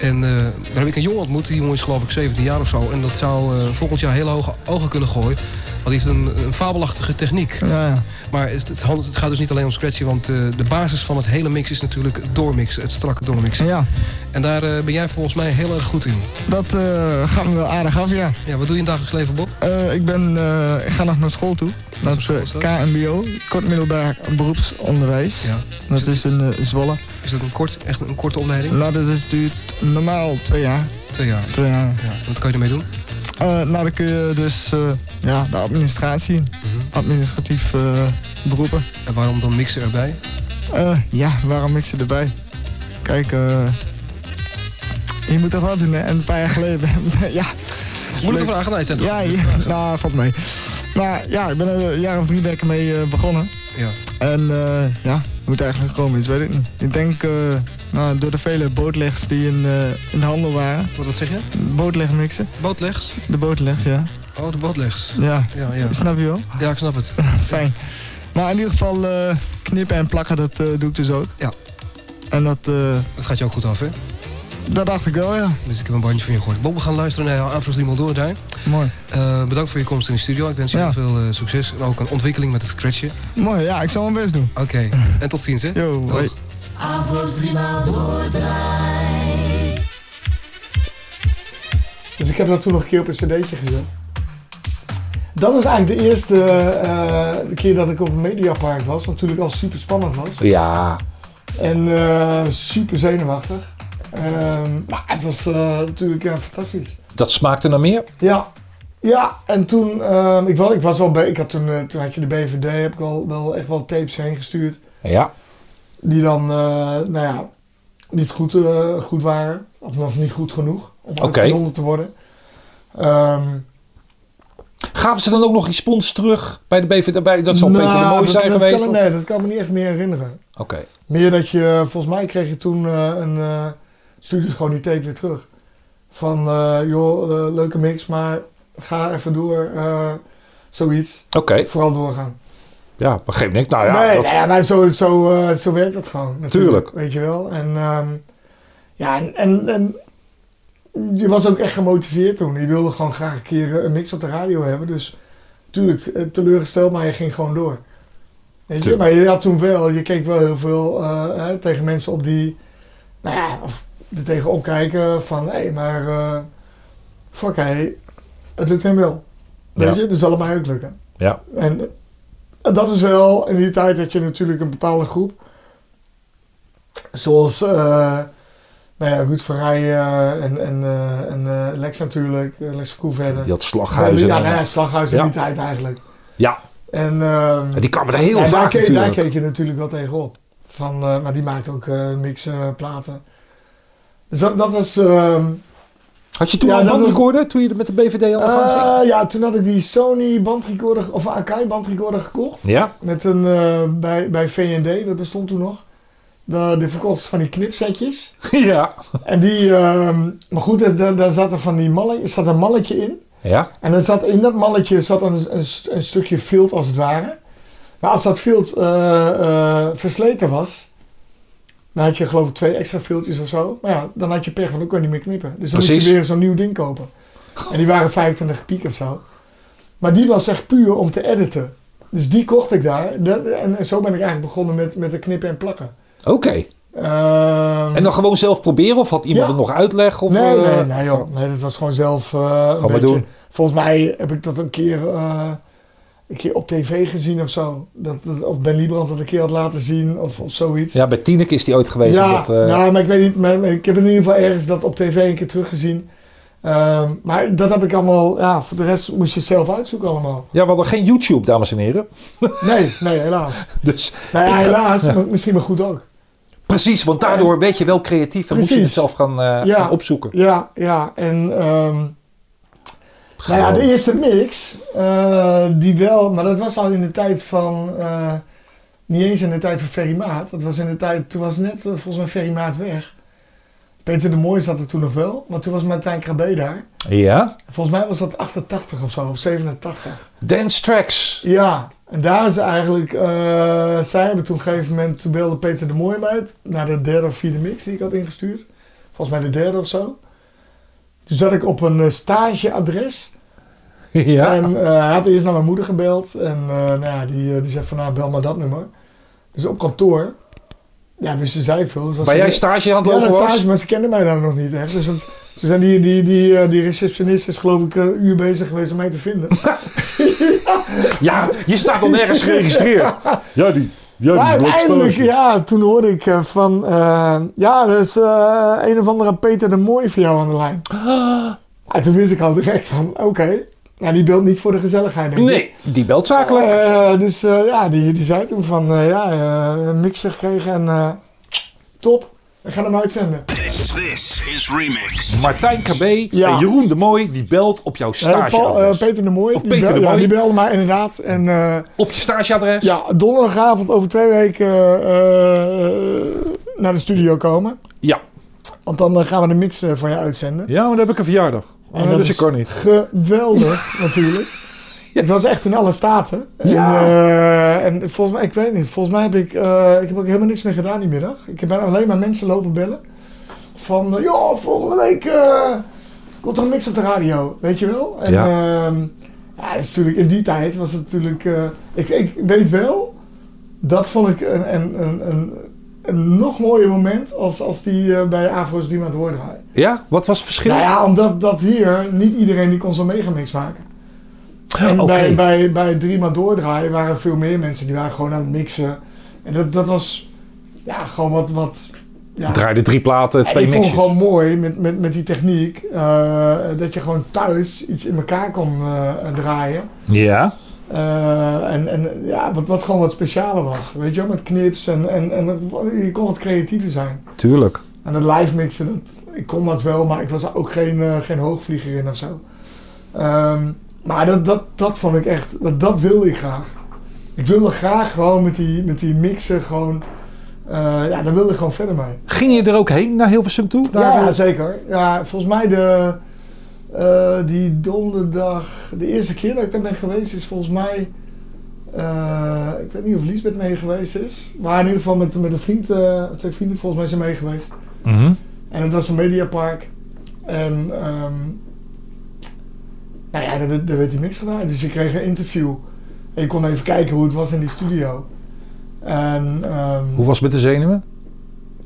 En eh, daar heb ik een jongen ontmoet, die jongen is geloof ik 17 jaar of zo. En dat zou eh, volgend jaar hele hoge ogen kunnen gooien. Want die heeft een, een fabelachtige techniek. Ja, ja. Maar het, het handelt- het gaat dus niet alleen om scratchen, want eh, de basis van het hele mix is natuurlijk het doormixen, het strakke doormixen. ja En daar eh, ben jij volgens mij heel erg goed in. dat eh, gaat me wel aardig af, ja. Ja, wat doe je in het dagelijks leven, Bob? Eh, ik, ben, eh, ik ga nog naar school toe. Dat voor school eh, is dat? KMBO, kort middelbaar beroepsonderwijs. Ja. Dat is in eh, Zwolle. Is dat een, kort, echt een korte opleiding? Nou, dat is, duurt normaal twee jaar. Twee jaar. Twee jaar. Ja, wat kan je ermee doen? Eh, nou, dan kun je dus eh, ja, de administratie, in. Mhm. administratief eh, beroepen. En waarom dan mixen erbij? Eh, ja, waarom ik ze erbij? Kijk, eh, je moet toch wat doen, hè? En een paar jaar geleden, ja, Moeilijke Leuk. vraag, nee, zijn toch? ja, ja, nou, valt mee. Maar ja, ik ben er een jaar of drie ben ik ermee eh, begonnen. Ja. En eh, ja, hoe het eigenlijk gekomen is, weet ik niet. Ik denk, eh, nou, door de vele bootlegs die in, eh, in de handel waren, Wat, wat zeg je? bootlegmixen, Bootlegs? de bootlegs, ja. Oh, de bootlegs. Ja, Ja, ja. snap je wel? ja, ik snap het. Fijn. Maar in ieder geval eh, knippen en plakken, dat eh, doe ik dus ook. Ja. En dat, eh, Dat gaat je ook goed af, hè? dat dacht ik wel, ja. Dus ik heb een bandje van je gehoord. Bob, we gaan luisteren naar jouw aanvraag die door daar. Mooi. Eh, bedankt voor je komst in de studio. Ik wens je Ja. heel veel eh, succes en ook een ontwikkeling met het scratchen. Mooi, ja, ik zal mijn best doen. Oké, Mm. en tot ziens, hè? Yo, Doeg. hoi. Avos driemaal doordraai. Dus ik heb dat toen nog een keer op een cd'tje gezet. Dat was eigenlijk de eerste eh, keer dat ik op een mediapark was, wat natuurlijk al super spannend was. Ja, En eh, super zenuwachtig. Ehm, maar het was eh, natuurlijk eh, fantastisch. dat smaakte naar meer. Ja, ja en toen, ehm, ik, was, ik was al bij, ik had toen, eh, toen had je de BVD, heb ik al wel echt wel tapes heen gestuurd. Ja, Die dan, eh, nou ja, niet goed, eh, goed waren. Of nog niet goed genoeg om Oké. uitgezonden te worden. Ehm, Gaven ze dan ook nog respons terug bij de BVD? Bij, dat zal nou, Peter de Mooi dat- zijn dat geweest. kan of- me- nee, dat kan me niet echt meer herinneren. Oké, Meer dat je, eh, volgens mij kreeg je toen eh, een, eh stuurde ze gewoon die tape weer terug. Van, eh, joh, eh, leuke mix, maar ga even door, eh, zoiets. oké. Vooral doorgaan. Ja, begreep ik. Nou ja, nee, dat, nou ja, maar zo, zo, eh, zo werkt dat gewoon. Natuurlijk, Tuurlijk. Weet je wel. En ehm, ja, en, en, en je was ook echt gemotiveerd toen. Je wilde gewoon graag een keer eh, een mix op de radio hebben. Dus tuurlijk, eh, teleurgesteld, maar je ging gewoon door. Weet je? Tuurlijk. Maar je had toen wel, je keek wel heel veel eh, hè, tegen mensen op die, nou ja, of er tegenop kijken van, hé, maar eh fuck, hey, het lukt hem wel. Weet Ja. je, dus zal het mij ook lukken. ja. En eh, dat is wel in die tijd dat je natuurlijk een bepaalde groep, zoals eh, nou ja, Ruud van Rijen en, en, eh, en eh, Lex natuurlijk, eh, Lex Koeverder. Die had slaghuizen. Ja, en- nou ja, Slaghuis in Ja. die tijd eigenlijk. Ja, En, ehm, die kwamen er heel en daar, vaak keek, daar natuurlijk. keek je natuurlijk wel tegenop. Van, eh, maar die maakt ook eh mix eh, platen. Dus dat, dat was... ehm, Had je toen Ja, al een dat was- bandrecorder toen je er met de BVD al aan de gang ging? eh, ja, toen had ik die Sony bandrecorder, of Akai bandrecorder gekocht. Ja, Met een, eh, bij, bij VND, dat bestond toen nog. De, de verkocht van die knipsetjes. ja. En die, ehm, maar goed, daar- daar, daar zat er van die malle, zat een malletje in. Ja, En dan zat in dat malletje zat een, een, st- een stukje field als het ware. Maar als dat field eh, eh, versleten was, dan had je geloof ik twee extra fieldjes of zo. Maar ja, dan had je pech, want dan kon je niet meer knippen. Dus dan moest Precies. je weer zo'n nieuw ding kopen. En die waren 25 piek of zo. Maar die was echt puur om te editen. Dus die kocht ik daar. Dat- en, en zo ben ik eigenlijk begonnen met, met de knippen en plakken. oké. Ehm, En dan gewoon zelf proberen? Of had iemand Ja. er nog uitleg? Of, nee, eh, nee, nee, joh. nee, dat was gewoon zelf. eh een maar beetje- doen. Volgens mij heb ik dat een keer, eh, een keer op tv gezien of zo. Dat, dat- of Ben Liebrand dat een keer had laten zien of, of zoiets. Ja, bij Tineke is die ooit geweest. Ja, omdat, eh, nou, maar ik weet niet. Maar, maar ik heb in ieder geval ergens dat op tv een keer teruggezien. Ehm, maar dat heb ik allemaal, ja, voor de rest moest je het zelf uitzoeken allemaal. Ja, we hadden geen YouTube, dames en heren. Nee, nee, helaas. Dus Nou ja, helaas, maar misschien maar goed ook. precies, want daardoor werd je wel creatief en moest je Precies. het zelf gaan, eh, Ja. gaan opzoeken. Ja, ja, en ehm, nou ja, Gewoon. de eerste mix, eh, die wel, maar dat was al in de tijd van, eh, niet eens in de tijd van Ferry Maat. Dat was in de tijd, toen was net eh, volgens mij Ferry Maat weg. Peter de Mooi zat er toen nog wel, maar toen was Martijn Krabbe daar. Ja. Volgens mij was dat 88 of zo, of 87. Dance tracks. Ja, en daar is eigenlijk, eh, zij hebben toen op een gegeven moment, toen belde Peter de Mooi mij uit, naar de derde of vierde mix die ik had ingestuurd. Volgens mij de derde of zo. Toen zat ik op een eh, stageadres ja. en eh, hij had eerst naar mijn moeder gebeld en eh, nou ja, die, eh, die zei van nou bel maar dat nummer. Dus op kantoor, ja wisten zij veel. Dus als Waar ze- jij stage aan het ja, lopen dat was. stage, maar ze kenden mij daar nog niet echt. Dus dat, toen zijn die, die, die, eh, die receptionist is geloof ik een uur bezig geweest om mij te vinden. Ja, je staat al nergens geregistreerd. Ja, die, Maar ja, uiteindelijk, ja, toen hoorde ik eh, van, eh, ja, er is eh, een of andere Peter de Mooi voor jou aan de lijn. En toen wist ik al direct van, oké, nou die beeld niet voor de gezelligheid. denk ik. Nee, die belt zakelijk. Eh, dus eh, ja, die, die zei toen van, eh, ja, eh, een mixer gekregen en eh, top, we gaan hem uitzenden. This is Remix. Martijn KB Ja. en Jeroen de Mooi, die belt op jouw Eh, Paul, eh, stageadres. Peter de Mooi, Of die, Peter bel- de ja, Mooi. die belde mij inderdaad. En eh, op je stageadres. ja, donderdagavond over twee weken eh, eh, naar de studio komen. ja. Want dan eh, gaan we de mix eh, van je uitzenden. Ja, maar dan heb ik een verjaardag. Oh, En dat is geweldig natuurlijk. Ik was echt in alle staten. En, eh, en volgens mij, ik weet niet, volgens mij heb ik, eh, ik heb ook helemaal niks meer gedaan die middag. Ik ben alleen maar mensen lopen bellen. Van, eh, joh, volgende week eh, komt er een mix op de radio, weet je wel? En, Ja. ehm, ja, dat is natuurlijk, in die tijd was het natuurlijk, eh, ik, ik weet wel, dat vond ik een, een, een, een, een nog mooier moment als, als die eh, bij Afro's Dima het woord draaien. Ja, wat was het verschil? Nou ja, omdat dat hier niet iedereen die kon zo'n megamix maken. En Oké. bij, bij, bij Driemaal Doordraaien waren veel meer mensen die waren gewoon aan het mixen. En dat, dat was ja, gewoon wat. wat ja. Draaide drie platen, En twee ik vond mixjes. het gewoon mooi met, met, met die techniek eh, dat je gewoon thuis iets in elkaar kon eh, draaien. Ja. Eh, en en ja, wat, wat gewoon wat specialer was. Weet je wel, met knips en, en, en je kon wat creatiever zijn. Tuurlijk. En dat live mixen, dat, ik kon dat wel, maar ik was daar ook geen, eh, geen hoogvlieger in of zo. Ehm, maar dat, dat, dat vond ik echt, dat, dat wilde ik graag. Ik wilde graag gewoon met die, met die mixen gewoon, eh, ja, daar wilde ik gewoon verder mee. Ging je er ook heen naar Hilversum toe? Ja, Daar- zeker. Ja, volgens mij de, eh, die donderdag, de eerste keer dat ik daar ben geweest is volgens mij, eh, ik weet niet of Liesbeth mee geweest is. Maar in ieder geval met, met een vriend, eh, twee vrienden volgens mij zijn mee geweest. Mhm. En het was een mediapark. En ehm nou ja, daar, werd- daar werd hij niks gedaan. Dus je kreeg een interview. En je kon even kijken hoe het was in die studio. En ehm, Hoe was het met de zenuwen?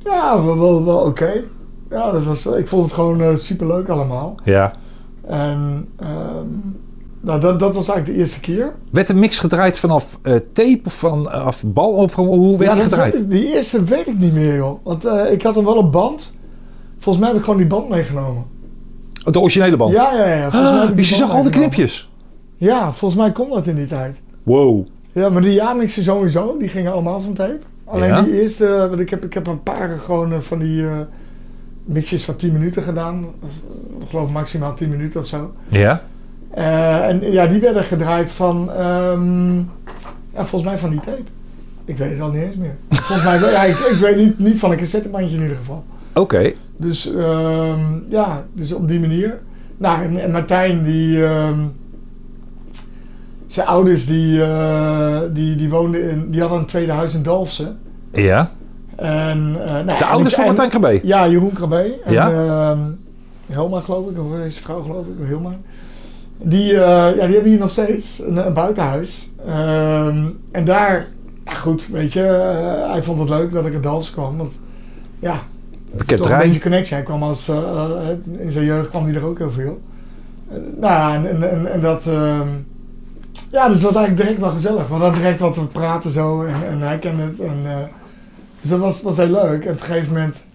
ja, wel, wel, wel oké. Ja, dat was, ik vond het gewoon eh, superleuk allemaal. Ja. En ehm, nou, dat, dat was eigenlijk de eerste keer. Werd een mix gedraaid vanaf eh, tape, of vanaf bal? Of hoe werd ja, die dat gedraaid? weet ik- die eerste weet ik niet meer, joh. Want eh, ik had hem wel op band. Volgens mij heb ik gewoon die band meegenomen. Oh, De originele band? Ja, ja, ja. volgens mij heb Ah, ik dus die je band zag al de meegenomen. knipjes? Ja, volgens mij kon dat in die tijd. Wow. Ja, maar die jaarmixen sowieso, die gingen allemaal van tape. Alleen Ja? die eerste, eh, want ik heb, ik heb een paar gewoon eh, van die eh, mixjes van 10 minuten gedaan. Of, eh, ik geloof maximaal 10 minuten of zo. Ja. Eh, en ja, die werden gedraaid van, ehm, ja, volgens mij van die tape. Ik weet het al niet eens meer. Volgens mij, wel- ja, ik, ik weet niet, niet van een cassettebandje in ieder geval. Oké. Dus ehm, ja, dus op die manier. Nou, en, en Martijn, die. ehm, zijn ouders die, eh, die, die woonden in. Die hadden een tweede huis in Dalfsen. Ja. En, eh, nou, De ouders van Martijn Krabbe? Ja, Jeroen Krabbe. En, Ja? ehm, Helma, geloof ik, of is vrouw, geloof ik, of Helma. Die, eh, ja, die hebben hier nog steeds een, een buitenhuis. Ehm, en daar, ja, goed, weet je, eh, hij vond het leuk dat ik in Dalfsen kwam. Want ja, Bekend toch een terrein. beetje connectie. Hij kwam als, eh, eh, in zijn jeugd kwam hij er ook heel veel. Eh, nou ja, en, en, en, en dat... ehm, ja, dus het was eigenlijk direct wel gezellig. We hadden direct wat te praten zo en, en hij kende het. En, eh, dus dat was, was heel leuk. En op een gegeven moment,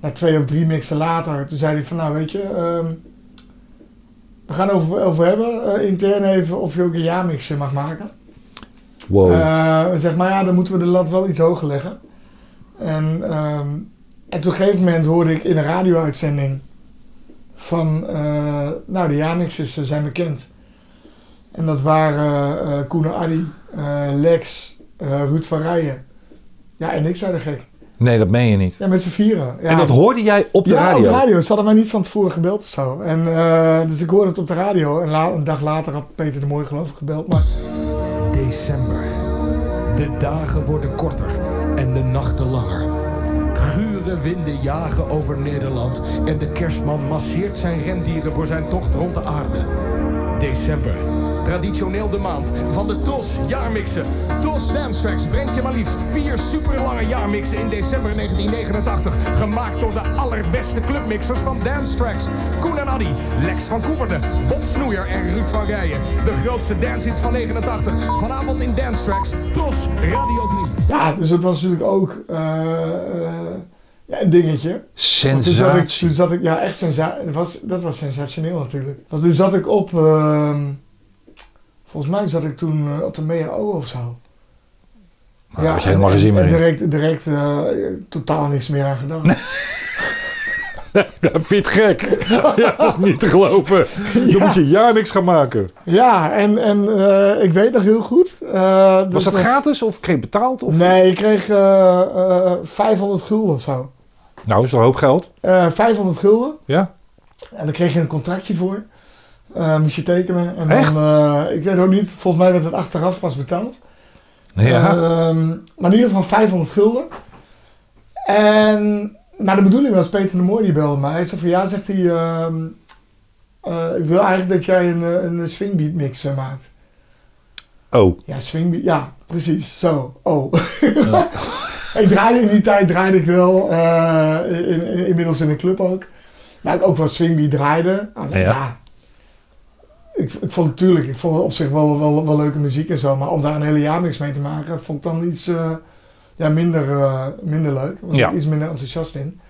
na twee of drie mixen later, toen zei hij van nou weet je... ehm, We gaan over, over hebben, eh, intern even, of je ook een jaarmix eh, mag maken. Wow. Eh, zeg maar, ja, dan moeten we de lat wel iets hoger leggen. En, ehm, en toen op een gegeven moment hoorde ik in een radio-uitzending van, eh, nou, de Jamixers eh, zijn bekend. En dat waren eh eh, Koen en Addy, eh, Lex, eh, Ruud van Rijen. Ja, en ik zei de gek. nee, dat meen je niet. Ja, met z'n vieren. Ja. En dat hoorde jij op de ja, radio? op de radio. Ze hadden mij niet van tevoren gebeld of zo. En, eh, dus ik hoorde het op de radio. En la- een dag later had Peter de Mooi geloof ik gebeld. Maar December. De dagen worden korter en de nachten langer. Gure winden jagen over Nederland en de kerstman masseert zijn rendieren voor zijn tocht rond de aarde. December. Traditioneel de maand van de TOS jaarmixen. TOS Dance Tracks brengt je maar liefst vier superlange jaarmixen in december 1989. Gemaakt door de allerbeste clubmixers van Dance Tracks. Koen en Addy, Lex van Koeverden, Bob Snoeier en Ruud van Rijen. De grootste dancehits van 89. Vanavond in Dance Tracks, TOS Radio 3. Ja, dus dat was natuurlijk ook eh, eh, ja, een dingetje. Want Toen zat ik, Sensatie. toen zat ik ja, echt sensa dat was, dat was sensationeel natuurlijk. Want toen zat ik op, ehm, volgens mij zat ik toen eh, op de MEAO of zo. Nou, had je helemaal en- geen zin meer en in. direct, direct eh, totaal niks meer aan gedaan. Ja, vind je het gek? ja, dat is niet te geloven. Dan moet je jaar niks gaan maken. Ja, en, en eh, ik weet nog heel goed. eh, Was dat gratis of kreeg je betaald? Of? Nee, ik kreeg eh, eh, 500 gulden of zo. Nou, is wel een hoop geld. Eh, 500 gulden. Ja? En daar kreeg je een contractje voor. Eh, moest je tekenen. En Echt? dan, eh, ik weet ook niet, volgens mij werd het achteraf pas betaald. Ja. Ehm, maar in ieder geval 500 gulden. En, maar de bedoeling was, Peter de Mooi die belde mij. Hij zei van, ja, zegt hij, ehm, eh, ik wil eigenlijk dat jij een, eh, een swingbeat mix eh, maakt. oh, Ja, swingbeat, ja, precies, zo, oh. ik draaide in die tijd, draaide ik wel, eh, in, in- inmiddels in een club ook. Waar ik ook wel swingbeat draaide. Alleen, Ja. ja. Ik, ik vond natuurlijk, ik vond het op zich wel, wel, wel leuke muziek en zo, maar om daar een hele jaarmix mee te maken, vond ik dan iets eh, ja, minder, eh, minder leuk. Was Ja. ik iets minder enthousiast in.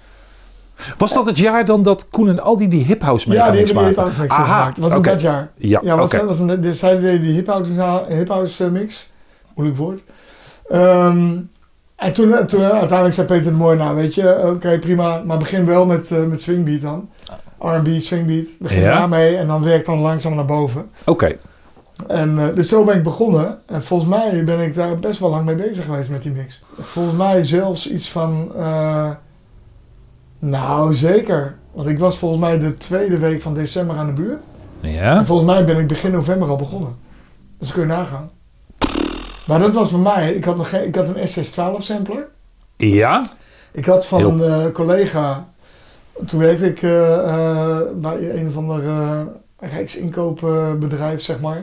was dat het jaar dan dat Koen en Aldi die hiphouse mee ja, gaan die niks hebben die maken? hip-house mix Aha, gemaakt. Dat was ook oké. dat jaar. Ja, Ja, was, oké. was een, de, zij deden die hip-house hip mix. Moeilijk woord. Ehm, en toen, toen eh, uiteindelijk zei Peter de Mooi, nou weet je, oké prima, maar begin wel met, eh, met swingbeat dan. R&B, swingbeat, begin Ja. daarmee en dan werk dan langzaam naar boven. Oké, En eh, dus zo ben ik begonnen en volgens mij ben ik daar best wel lang mee bezig geweest met die mix. Volgens mij zelfs iets van, eh, nou zeker, want ik was volgens mij de tweede week van december aan de buurt. ja. En volgens mij ben ik begin november al begonnen. Dus kun je nagaan. Maar dat was bij mij. Ik had, nog geen, ik had een SS12 sampler. Ja? Ik had van Heel- een eh, collega. Toen werkte ik eh, eh, bij een of ander eh, rijksinkoopbedrijf, zeg maar.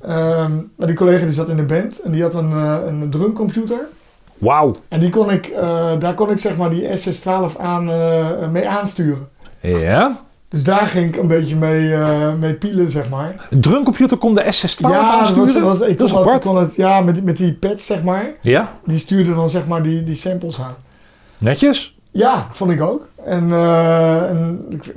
Ehm, maar die collega die zat in de band en die had een, eh, een drumcomputer. Wauw. En die kon ik, eh, daar kon ik zeg maar die SS12 aan, eh, mee aansturen. Ja? Dus daar ging ik een beetje mee, eh, mee pielen, zeg maar. Een drumcomputer kon de SS-12 dat aansturen? was, was, ik dat is kon apart. het, kon het, ja, met, die- met die pads, zeg maar. Ja, Die stuurden dan zeg maar die, die samples aan. netjes. Ja, vond ik ook. En, eh, en ik-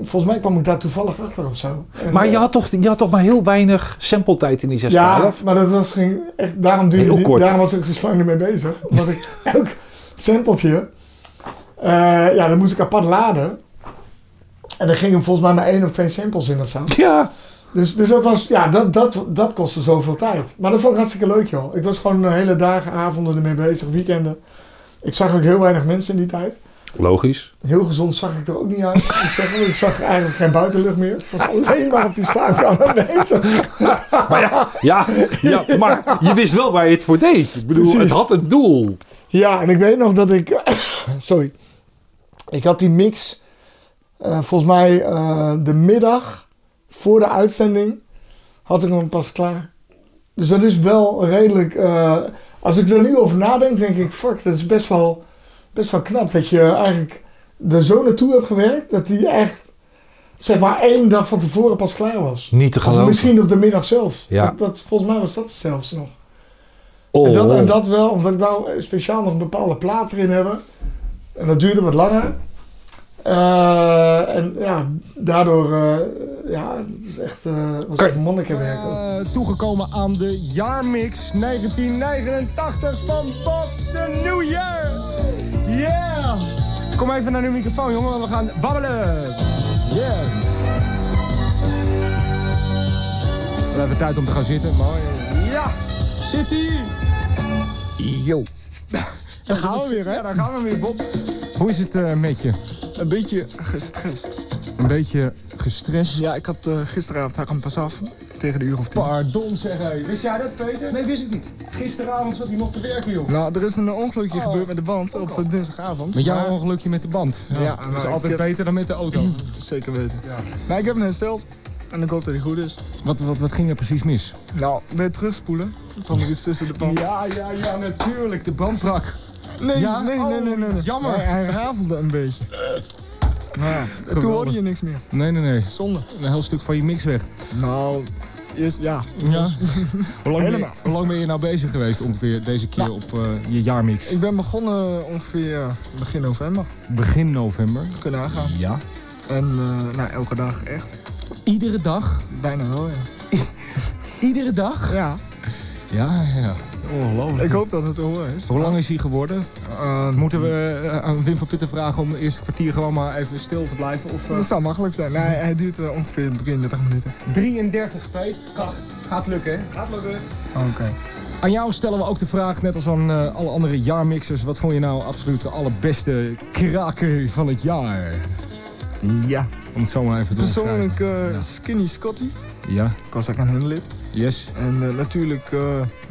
volgens mij kwam ik daar toevallig achter of zo. En, Maar je eh, had toch, je had toch maar heel weinig sampletijd in die 6 Ja, maar dat was ging echt, daarom, duurde Heel die- kort. daarom was ik zo lang ermee bezig. Omdat ik elk sampletje, eh, ja, dan moest ik apart laden. En dan ging hem volgens mij maar één of twee samples in of zo. Ja. Dus, dus dat was, ja, dat, dat, dat kostte zoveel tijd. Maar dat vond ik hartstikke leuk, joh. Ik was gewoon de hele dagen, avonden ermee bezig, weekenden. Ik zag ook heel weinig mensen in die tijd. Logisch. Heel gezond zag ik er ook niet uit. Ik, zeg, wel, ik zag eigenlijk geen buitenlucht meer. Ik was alleen maar op die slaapkamer bezig. Ja, ja, maar je wist wel waar je het voor deed. Ik bedoel, Precies. het had een doel. Ja, en ik weet nog dat ik... Sorry. Ik had die mix, eh, volgens mij eh, de middag voor de uitzending, had ik hem pas klaar. Dus dat is wel redelijk... eh, als ik er nu over nadenk, denk ik, fuck, dat is best wel, best wel knap. Dat je eigenlijk er zo naartoe hebt gewerkt, dat die echt, zeg maar, één dag van tevoren pas klaar was. Niet te Of geloven. misschien op de middag zelfs. Ja. Dat, dat, volgens mij was dat zelfs nog. Oh. En dat, en dat wel, omdat ik wou speciaal nog een bepaalde plaat erin hebben. En dat duurde wat langer. Eh, en ja, daardoor eh, ja, het is echt, eh was Kijk. echt monnikenwerk. ook. Oh, Eh, toegekomen aan de jaarmix 1989 van Bob's New Year. Yeah! Kom even naar uw microfoon, jongen, want we gaan babbelen. Yeah! We hebben even tijd om te gaan zitten. Mooi. Ja! Zit ie! Yo. Daar gaan we weer, hè? Ja, daar gaan we weer, Bob. Hoe is het eh, met je? Een beetje gestrest. Een beetje gestrest. Ja, ik had eh, gisteravond haar een pas af. Tegen de uur of tien. Pardon, zeg hij. Wist jij dat, Peter? Nee, wist ik niet. Gisteravond zat hij nog te werken, joh. Nou, er is een ongelukje Oh, gebeurd met de band op eh, dinsdagavond. Met jouw maar- ongelukje met de band. Ja, dat is maar altijd ik heb- beter dan met de auto. Mm, Zeker weten. Maar ik heb hem hersteld. En ik hoop dat hij goed is. Wat, wat, wat ging er precies mis? Nou, weer terugspoelen. Er kwam er iets tussen de pan. Ja, ja, ja, natuurlijk. De band brak. Nee, Ja? nee, nee, nee, nee, nee. Oh, jammer. Hij, hij rafelde een beetje. geweldig. Toen hoorde je niks meer. Nee, nee, nee. Zonde. Een heel stuk van je mix weg. Nou, eerst, ja. Ja. Hoe lang, ben je, Helemaal. Nou. hoe lang ben je nou bezig geweest ongeveer deze keer op eh, je jaarmix? Ik ben begonnen ongeveer eh, begin november. Begin november. Kunnen aangaan. Ja. En eh, nou, elke dag echt. Iedere dag. Bijna wel, ja. Iedere dag? Ja, Ja, ja. Ongelooflijk. ik hoop dat het te horen is. Hoe lang is hij geworden? Eh, Moeten we eh, aan Wim van Pitten vragen om het eerste kwartier gewoon maar even stil te blijven? Of, eh, dat zou makkelijk zijn. Nee, hij duurt eh, ongeveer 33 minuten. 33, Peet. Kach, gaat lukken, hè? Gaat lukken. Oké. Aan jou stellen we ook de vraag, net als aan eh, alle andere jaarmixers... wat vond je nou absoluut de allerbeste kraker van het jaar? Ja. Om het zo maar even te omschrijven. Persoonlijk eh, Skinny Scotty. Ja, Ik was ook aan hun lid. yes, En eh, natuurlijk eh,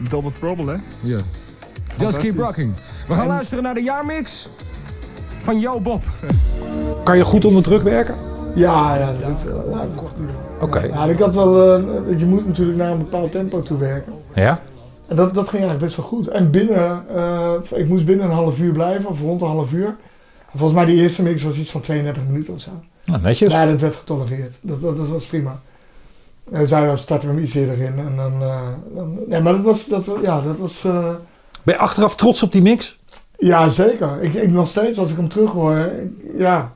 Double Trouble, hè. ja. Just keep rocking. We gaan luisteren naar de jaarmix van jou, Bob. Kan je goed onder druk werken? eh, Ja, ja, dat lukt, eh, ja, dat lukt niet. Oké. Ja, ik had wel, eh, je moet natuurlijk naar een bepaald tempo toe werken. Ja? En dat, dat ging eigenlijk best wel goed. En binnen, eh, ik moest binnen een half uur blijven, of rond een half uur. En volgens mij de eerste mix was iets van 32 minuten of zo. Nou, Dus- netjes. Ja, dat werd getolereerd. Dat, dat, dat was prima. En we zeiden, dan starten we hem iets eerder in. En dan, eh, dan, nee, maar dat was, dat, wa- ja, dat was, eh, Ben je achteraf trots op die mix? ja zeker. Ik, ik nog steeds, als ik hem terug hoor, ik- ja.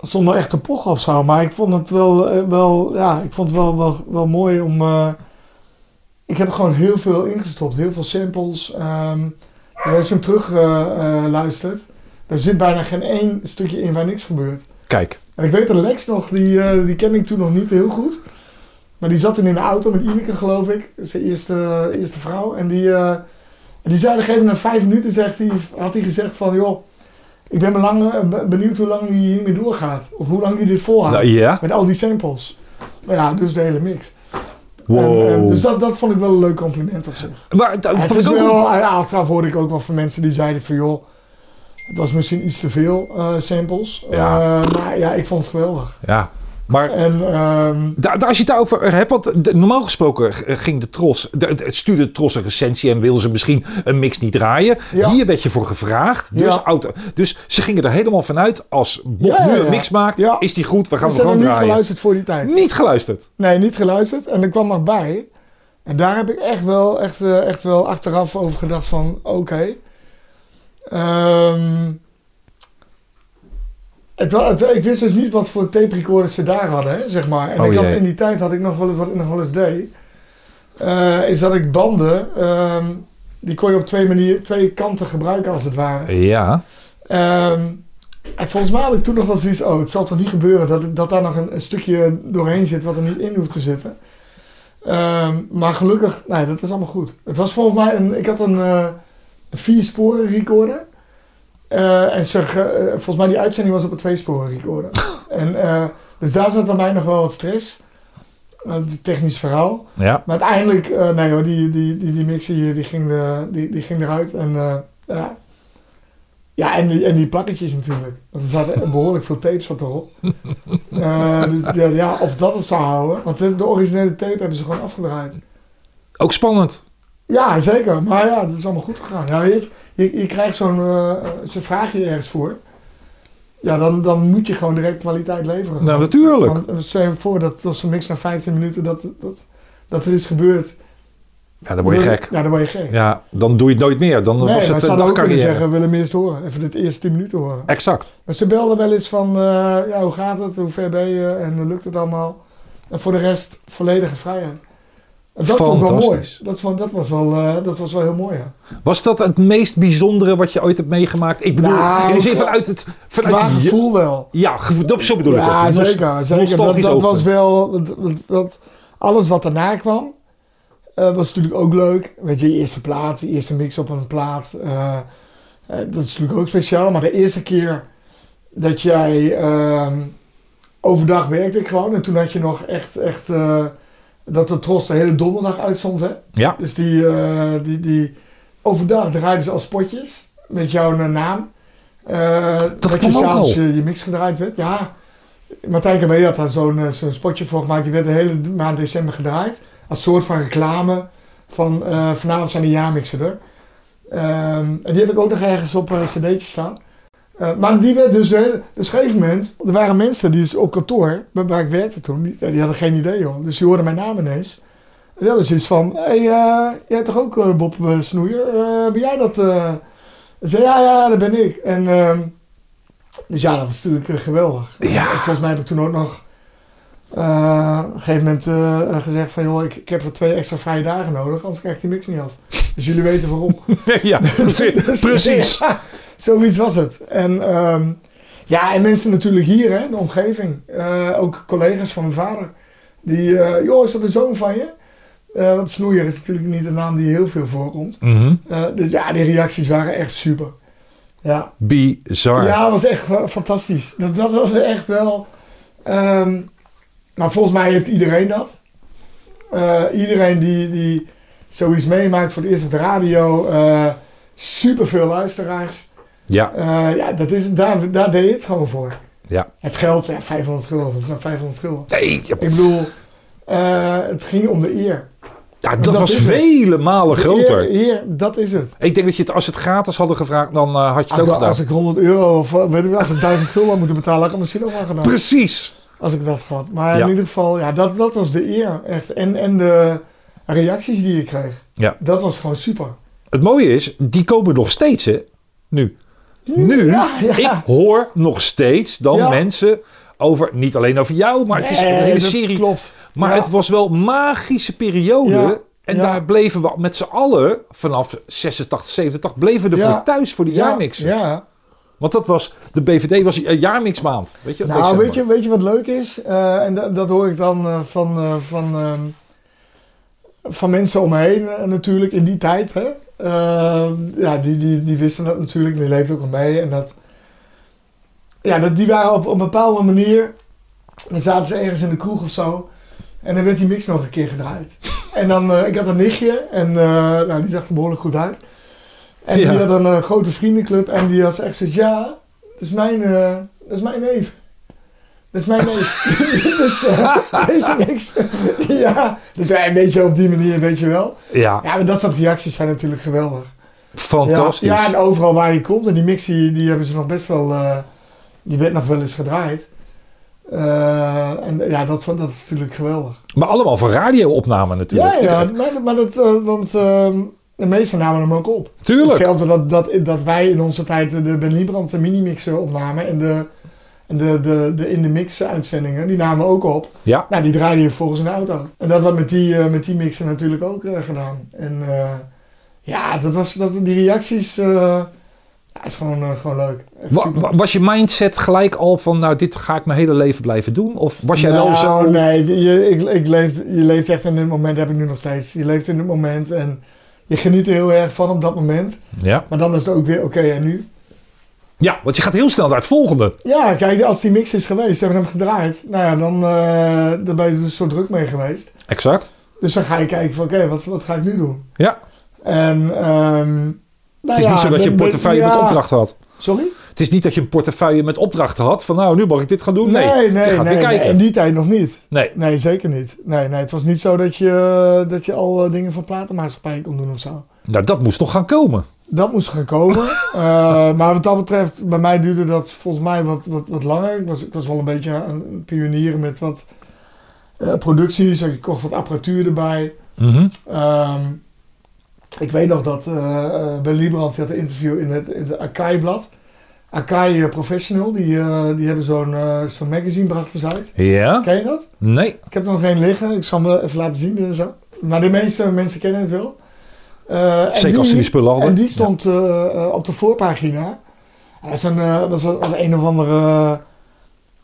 Zonder echt te pochen of zo, maar ik vond het wel, eh, wel, ja, ik vond het wel, wel, wel mooi om, eh, ik heb er gewoon heel veel ingestopt, heel veel samples. ehm. dus als je hem terug eh, eh, luistert, er zit bijna geen één stukje in waar niks gebeurt. Kijk. En ik weet dat Lex nog, die, eh, die kende ik toen nog niet heel goed. Maar die zat toen in de auto met Ineke, geloof ik. Zijn eerste, eerste vrouw. En die, eh, en die zei op een gegeven moment, na vijf minuten zegt hij, had hij gezegd van... joh, ik ben belang, eh, be- benieuwd hoe lang hij hiermee doorgaat. Of hoe lang hij dit volhoudt. Nou, ja. Met al die samples. Maar ja, dus de hele mix. Wow. En, en dus dat, dat vond ik wel een leuk compliment op zich. maar, dat Het vond ik is ook wel, ja, achteraf hoorde ik ook wel van mensen die zeiden van joh, het was misschien iets te veel eh, samples. Ja. Eh, maar ja, ik vond het geweldig. Ja. Maar En ehm, Eh. Da- da- als je het daarover hebt, want de- normaal gesproken g- ging de Tros, de, de- stuurde de Tros een recensie en wilden ze misschien een mix niet draaien. Ja. Hier werd je voor gevraagd. Dus, Ja. auto, dus ze gingen er helemaal vanuit, als Bob Ja, ja, nu een ja. mix maakt, Ja. is die goed, we gaan dus ze hem hebben gewoon niet draaien. geluisterd voor die tijd. Niet geluisterd. Nee, niet geluisterd. En er kwam nog bij. En daar heb ik echt wel, echt, eh, echt wel achteraf over gedacht van oké. Ehm, het, wa- het- ik wist dus niet wat voor tape recorders ze daar hadden, hè, zeg maar. En Oh, ik had, jee. in die tijd had ik nog wel eens, wat ik nog wel eens deed. eh, is dat ik banden, ehm, die kon je op twee, manier, twee kanten gebruiken als het ware. Ja. Ehm, en volgens mij had ik toen nog wel zoiets, oh, het zal toch niet gebeuren dat, dat daar nog een, een stukje doorheen zit wat er niet in hoeft te zitten. Ehm, maar gelukkig, nee, dat was allemaal goed. Het was volgens mij een, ik had een eh, een vier sporen recorder. Eh, en ze, ge- eh, volgens mij die uitzending was op een twee sporen recorder. en, eh, dus daar zat bij mij nog wel wat stress. Eh, het technisch verhaal. Ja. Maar uiteindelijk, eh, nee hoor, die, die, die, die mixie hier, die ging, de, die, die ging eruit. En, eh, ja. ja, en die, en die plakketjes natuurlijk. Want er zaten behoorlijk veel tape zat erop. Eh, dus ja, ja, of dat het zou houden. Want de, de originele tape hebben ze gewoon afgedraaid. Ook spannend. Ja, zeker. Maar ja, dat is allemaal goed gegaan. Ja, je, je, je krijgt zo'n... eh, ze vragen je ergens voor. Ja, dan, dan moet je gewoon direct kwaliteit leveren. Nou, natuurlijk. Want eh, stel je voor dat als een mix na 15 minuten dat, dat, dat er iets gebeurt Ja, dan word je gek. Ja, dan word je gek. Ja, dan doe je het nooit meer. Dan nee, was maar het ze een hadden ook kunnen dagcarrière. zeggen, we willen hem eerst horen. Even de eerste 10 minuten horen. Exact. Maar ze belden wel eens van, eh, ja, hoe gaat het? Hoe ver ben je? En eh, lukt het allemaal? En voor de rest volledige vrijheid. En dat vond ik wel mooi. Fantastisch. Dat, vond, dat, was wel, eh, dat was wel heel mooi, ja. Was dat het meest bijzondere wat je ooit hebt meegemaakt? Ik bedoel, Nou, in de zin voor- vanuit het... Vanuit Qua je- gevoel wel. Ja, gevoel, dat- zo bedoel ik Ja, het. Nos- zeker. zeker. Dat, nostalgisch dat oogpunt. was wel. Dat, dat- dat- alles wat daarna kwam, eh, was natuurlijk ook leuk. Weet je, je eerste plaat, je eerste mix op een plaat. eh, eh, dat is natuurlijk ook speciaal. Maar de eerste keer dat jij ehm, overdag werkte ik gewoon. En toen had je nog echt, echt eh, dat de Tros de hele donderdag uitzond. Hè? Ja. Dus die, eh, die, die overdag draaiden ze als spotjes met jouw eh, naam. Eh, dat je kwam ook s'avonds eh, al. je, je mix gedraaid werd. Ja, Martijn Kamee had daar zo'n eh, zo'n spotje voor gemaakt. Die werd de hele maand december gedraaid. Als soort van reclame van eh, vanavond zijn de jaarmixen er. Ehm, en die heb ik ook nog ergens op een cd'tje staan. Eh, maar die werd dus, hè, dus op een gegeven moment, er waren mensen die dus op kantoor, waar, waar ik werkte toen, die, ja, die hadden geen idee joh. Dus die hoorden mijn naam ineens. En dat is iets van, hé, hey, eh, jij hebt toch ook eh, Bob eh, Snoeier? Eh, ben jij dat? eh? Ik zei, ja, ja, dat ben ik. En, ehm, dus ja, dat was natuurlijk eh, geweldig. Ja. En volgens mij heb ik toen ook nog eh, op een gegeven moment eh, eh, gezegd van, joh, ik, ik heb er twee extra vrije dagen nodig, anders krijg ik die mix niet af. Dus jullie weten waarom. ja, precies. Dus, precies. ja, zoiets was het. En, ehm, ja, en mensen natuurlijk hier, hè, de omgeving. Eh, ook collega's van mijn vader. Die, eh, joh, is dat de zoon van je? Eh, want snoeier is natuurlijk niet een naam die heel veel voorkomt. Mhm. Eh, dus ja, die reacties waren echt super. Ja, Bizar. ja, dat was echt eh, fantastisch. Dat, dat was echt wel. ehm, maar volgens mij heeft iedereen dat. Eh, iedereen die, die zoiets meemaakt voor het eerst op de radio. eh super veel luisteraars. Ja, Eh, ja, dat is, daar, daar deed je het gewoon voor. ja. Het geld, ja, 500 gulden. Wat is nou 500 gulden? Nee, ja, Ik bedoel, eh, het ging om de eer. ja, dat, dat was is het. vele malen De groter. Eer, eer, dat is het. Ik denk dat je het, als ze het gratis hadden gevraagd, dan eh, had je het ook Als, gedaan. Ah, als ik 100 euro of eh, weet ik, wel, als ik 1000 gulden had moeten betalen, had ik het misschien ook wel gedaan. Precies. Als ik dat gehad. Maar Ja. in ieder geval, ja, dat, dat was de eer. Echt. En, en de reacties die je kreeg. Ja. Dat was gewoon super. Het mooie is, die komen nog steeds, hè? Nu. Nu, Ja, ja. ik hoor nog steeds dan Ja. mensen over, niet alleen over jou, maar het is een Nee, hele dat serie. Klopt. Maar Ja. het was wel een magische periode. Ja, En ja. daar bleven we met z'n allen, vanaf 86, 87, bleven we Ja. voor thuis voor de ja, jaarmixen. Ja. Want dat was, de BVD was een jaarmixmaand. Weet je, Nou, december. weet je, weet je wat leuk is? Eh, en da- dat hoor ik dan eh, van, eh, van, ehm, van mensen om me heen eh, natuurlijk in die tijd. Hè? Eh, ja, die, die, die wisten dat natuurlijk, die leefden ook al mee. En dat, ja, dat, die waren op, op een bepaalde manier, dan zaten ze ergens in de kroeg of zo. En dan werd die mix nog een keer gedraaid. En dan, eh, ik had een nichtje en eh, nou, die zag er behoorlijk goed uit. En Ja. die had een eh, grote vriendenclub en die had echt zoiets, ja, dat is mijn, eh, dat is mijn neef. Dat is mijn neef. dus eh, deze niks. ja, dus ja, een beetje op die manier, weet je wel. Ja, Ja, maar dat soort reacties zijn natuurlijk geweldig. fantastisch. Ja, nou- ja, en overal waar je komt. En die mix die, die hebben ze nog best wel, eh, die werd nog wel eens gedraaid. Eh, en ja, dat, vond- dat is natuurlijk geweldig. Maar allemaal van radio-opnamen natuurlijk. Ja, ja, maar, maar dat, eh, want ehm, de meesten namen hem ook op. Tuurlijk. Hetzelfde dat, dat, dat wij in onze tijd de Ben Liebrand de minimixen opnamen en de, en de, de, de in de mix uitzendingen, die namen we ook op. Ja. Nou, die draaide je volgens een auto. En dat werd met die, eh, met die mixen natuurlijk ook eh, gedaan. En eh, ja, dat was, dat, die reacties, eh ja, is gewoon, eh, gewoon leuk. Echt Wa- super. wa- was je mindset gelijk al van, nou, dit ga ik mijn hele leven blijven doen? Of was jij wel Nou, zo... Nee, je, ik, ik leef, je leeft echt in het moment, dat heb ik nu nog steeds. Je leeft in het moment en je geniet er heel erg van op dat moment. Ja. Maar dan is het ook weer, oké, en nu? ja, want je gaat heel snel naar het volgende. Ja, kijk, als die mix is geweest, ze hebben hem gedraaid. Nou ja, dan, eh daar ben je dus zo druk mee geweest. Exact. Dus dan ga je kijken van, oké, wat, wat ga ik nu doen? Ja. En, ehm Het is niet zo dat je een portefeuille met opdrachten had. Sorry? Het is niet dat je een portefeuille met opdrachten had van, nou, nu mag ik dit gaan doen. Nee, nee, je nee, gaat nee, weer nee, kijken. in die tijd nog niet. Nee, Nee, zeker niet. Nee, nee, het was niet zo dat je, eh, dat je al eh, dingen voor platenmaatschappij kon doen of zo. nou, dat moest nog gaan komen. Dat moest gaan komen. Eh, maar wat dat betreft, bij mij duurde dat volgens mij wat, wat, wat langer. Ik was, ik was wel een beetje aan het pionieren met wat eh, producties. Ik kocht wat apparatuur erbij. Mhm. Ehm, Ik weet nog dat eh, eh, Ben Liebrand die had een interview in het, in het Akai-blad. Akai eh, Professional, die, eh, die hebben zo'n eh, zo'n magazine brachten ze uit. Ja? Ken je dat? Nee. Ik heb er nog één liggen. Ik zal hem even laten zien. eh, zo. Maar de meeste mensen kennen het wel. Eh, en Zeker als ze die spullen hadden. en die stond eh, eh, op de voorpagina. Dat is een, eh, dat is een, dat is een of andere. eh,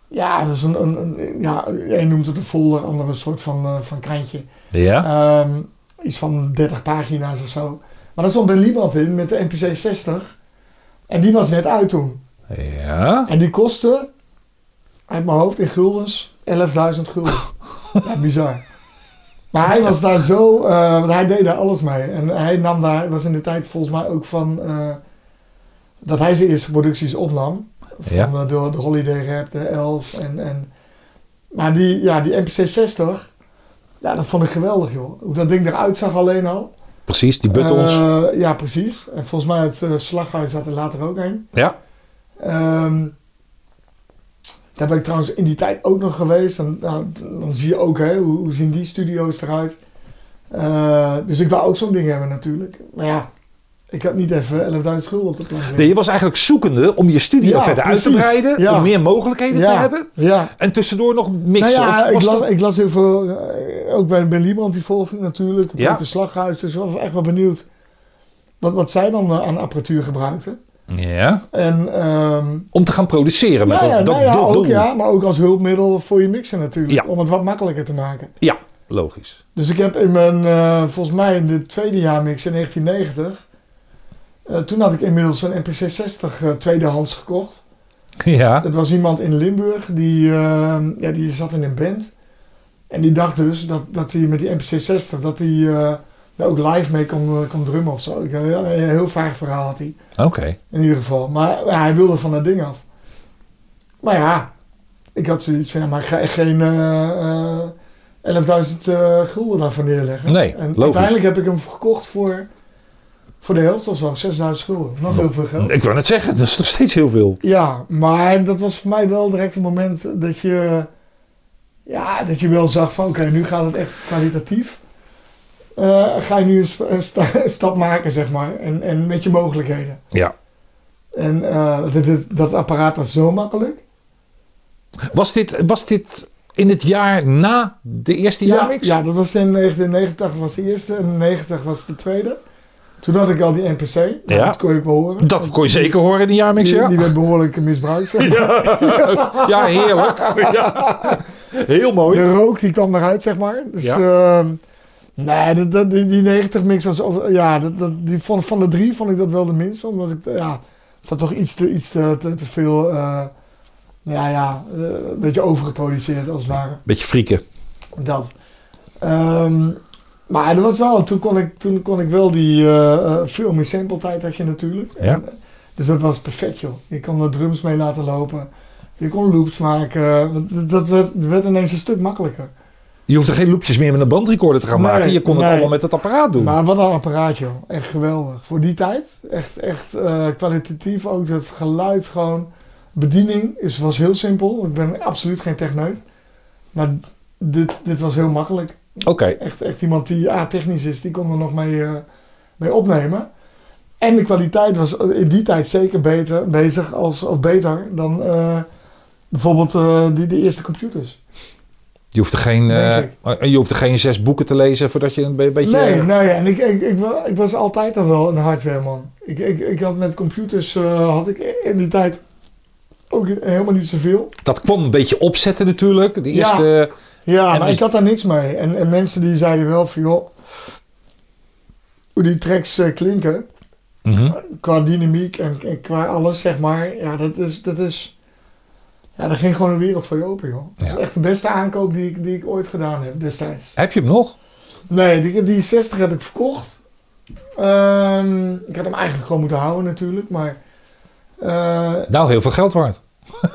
ja, dat is een, een, een- ja, een noemt het een folder, ander een soort van, eh, van krantje. Ja? Ehm, iets van 30 pagina's of zo. Maar daar stond Ben Liebrand in met de NPC 60. En die was net uit toen. Ja? En die kostte, uit mijn hoofd in guldens, 11.000 gulden. ja, bizar. Maar hij was daar zo, eh, want hij deed daar alles mee. En hij nam daar, was in de tijd volgens mij ook van, eh, dat hij zijn eerste producties opnam. Van Ja. eh, de, de Holiday Rap, de Elf en, en... Maar die, ja, die NPC 60, ja, dat vond ik geweldig joh. Hoe dat ding eruit zag alleen al. Precies, die buttons. Eh, ja, precies. En volgens mij het eh, slaghuis zat er later ook heen. ja? Ehm, daar ben ik trouwens in die tijd ook nog geweest. En, nou, dan zie je ook, hè, hoe, hoe zien die studio's eruit. Eh, dus ik wou ook zo'n ding hebben natuurlijk. Maar ja, ik had niet even 11.000 gulden op de plank. liggen. Nee, je was eigenlijk zoekende om je studio Ja, verder uit te precies. breiden. Ja. Om meer mogelijkheden te ja, hebben. Ja. En tussendoor nog Nou mixen. ja, of ik was las, dat- ik las heel veel, eh, ook bij Ben Liebrand die volgde ik natuurlijk, Ja. ja. de Slaghuis, dus ik was echt wel benieuwd wat, wat zij dan eh, aan apparatuur gebruikten. Ja? En ehm, Om te gaan produceren met ja, ja, dat, dat nou ja, dat doel. ook, ja, maar ook als hulpmiddel voor je mixen natuurlijk. Ja. Om het wat makkelijker te maken. Ja, logisch. Dus ik heb in mijn, eh, volgens mij in de tweede jaar mix in 1990. eh, toen had ik inmiddels een NPC 60 eh, tweedehands gekocht. Ja. Dat was iemand in Limburg die, eh, ja, die zat in een band. En die dacht dus dat dat hij met die NPC 60 dat hij eh, daar ook live mee kon, eh, kon drummen of zo. Ik, een heel- een heel vaag verhaal had hij. Oké. In ieder geval. Maar ja, hij wilde van dat ding af. Maar ja, ik had zoiets van, ja, maar ik ga echt geen eh, eh, 11.000 eh, gulden daarvoor neerleggen. Nee, en logisch. uiteindelijk heb ik hem gekocht voor, voor de helft of zo, 6.000 gulden. Nog heel veel geld. Ik wou net zeggen, dat is nog steeds heel veel. Ja, maar dat was voor mij wel direct een moment dat je, ja, dat je wel zag van, oké, nu gaat het echt kwalitatief. Eh, ga je nu een, sp- een sta- een stap maken, zeg maar, en, en met je mogelijkheden. Ja. En eh, dat, dat, dat apparaat was zo makkelijk. Was dit, was dit in het jaar na de eerste ja, jaarmix? ja, dat was in 1989 was de eerste en 90 was de tweede. Toen had ik al die NPC. Nou, Ja. Dat kon je ook wel horen. Dat kon je zeker horen in de jaarmix, Die, ja? die werd behoorlijk misbruikt. zeg maar. Ja, heerlijk. Ja. Heel mooi. De rook die kwam eruit, zeg maar. Dus, Ja. ehm, nee, dat, dat, die, die 90 mix was. of- Ja, dat, dat, die vond, van de drie vond ik dat wel de minste. Omdat ik. eh, Ja, er zat toch iets te, iets te, te, te veel. eh, ja, ja. eh, een beetje overgeproduceerd als het ware. Beetje frieken. Dat. Ehm, maar dat was wel, toen kon ik, toen kon ik wel die eh, eh, veel meer sample tijd had je natuurlijk. Ja. En, eh, dus dat was perfect joh. Je kon er drums mee laten lopen. Je kon loops maken. Dat, dat werd, dat werd ineens een stuk makkelijker. Je hoeft er geen loopjes meer met een bandrecorder te gaan Nee, maken. Je kon het nee. allemaal met het apparaat doen. Maar wat een apparaat joh. Echt geweldig. Voor die tijd. Echt, echt eh, kwalitatief ook. Dat geluid gewoon. Bediening is, was heel simpel. Ik ben absoluut geen techneut. Maar dit, dit was heel makkelijk. Oké. echt, echt iemand die A-technisch is, die kon er nog mee, eh, mee opnemen. En de kwaliteit was in die tijd zeker beter bezig als, of beter dan eh, bijvoorbeeld eh, die, de eerste computers. Je hoeft, er geen, Denk eh, je hoeft er geen zes boeken te lezen voordat je een be- beetje... eh, Nee, nou ja, en ik, ik, ik, wa- ik was altijd al wel een hardwareman. Ik, ik, ik had met computers, eh, had ik in die tijd ook helemaal niet zoveel. Dat kwam een beetje opzetten natuurlijk. De Ja. eerste... Ja, En dus maar is- ik had daar niks mee. En, en mensen die zeiden wel van, joh, hoe die tracks eh, klinken, Mhm. qua dynamiek en, en qua alles, zeg maar. Ja, dat is. Dat is ja, daar ging gewoon een wereld voor je open, joh. Dat Ja. is echt de beste aankoop die ik, die ik ooit gedaan heb destijds. Heb je hem nog? Nee, die, die 60 heb ik verkocht. Ehm, ik had hem eigenlijk gewoon moeten houden, natuurlijk. Maar. eh, Nou, heel veel geld waard.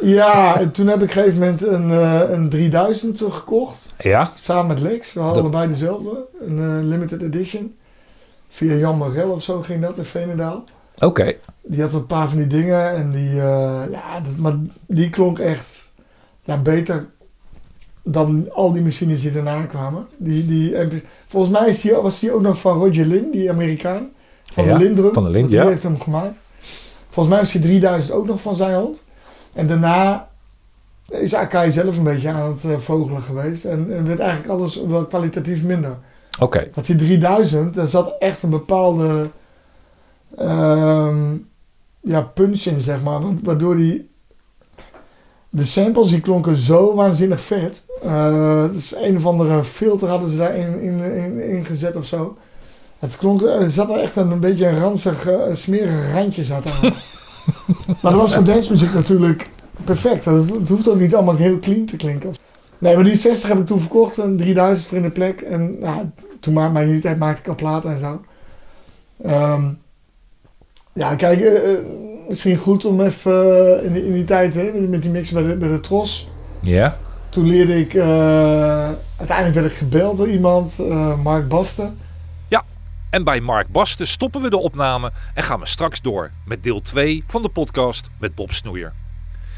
ja, en toen heb ik op een gegeven moment een, eh, een 3000 gekocht. Ja. Samen met Lex, we hadden Dat- allebei dezelfde. Een eh, limited edition. Via Jan Morel of zo ging dat in Veenendaal. Oké. Die had een paar van die dingen en die, eh, ja, dat, maar die klonk echt ja, beter dan al die machines die daarna kwamen. Die, die, en volgens mij is die, was die ook nog van Roger Lin, die Amerikaan. Van Ja, de Lindrum. van de Lin, want die ja. heeft hem gemaakt. Volgens mij is die 3000 ook nog van zijn hand. En daarna is Akai zelf een beetje aan het eh, vogelen geweest. En, en werd eigenlijk alles wel kwalitatief minder. Oké, Want die 3000, daar zat echt een bepaalde ehm, ja, punch in, zeg maar. wa- Waardoor die... De samples die klonken zo waanzinnig vet. Eh, dus een of andere filter hadden ze daarin in, in, in gezet of zo. Het klonk, er zat er echt een, een beetje een ranzig, eh, smerig randje zat aan. maar dat was voor dancemuziek natuurlijk perfect. Het, het hoeft ook niet allemaal heel clean te klinken. Nee, maar die 60 heb ik toen verkocht. En 3000 voor in de plek. En nou, toen ma maar in die tijd maakte ik al platen en zo. Ehm, ja, kijk, eh, eh, misschien goed om even eh, in, die, in die tijd hè, met die mix bij de, bij de Tros. ja. Toen leerde ik, eh, uiteindelijk werd ik gebeld door iemand, eh, Mark Basten. En bij Mark Basten stoppen we de opname en gaan we straks door met deel 2 van de podcast met Bob Snoeier.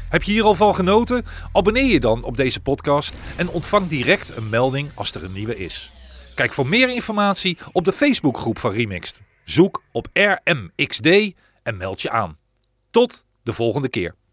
Heb je hier al van genoten? Abonneer je dan op deze podcast en ontvang direct een melding als er een nieuwe is. Kijk voor meer informatie op de Facebookgroep van Remixed. Zoek op RMXD en meld je aan. Tot de volgende keer.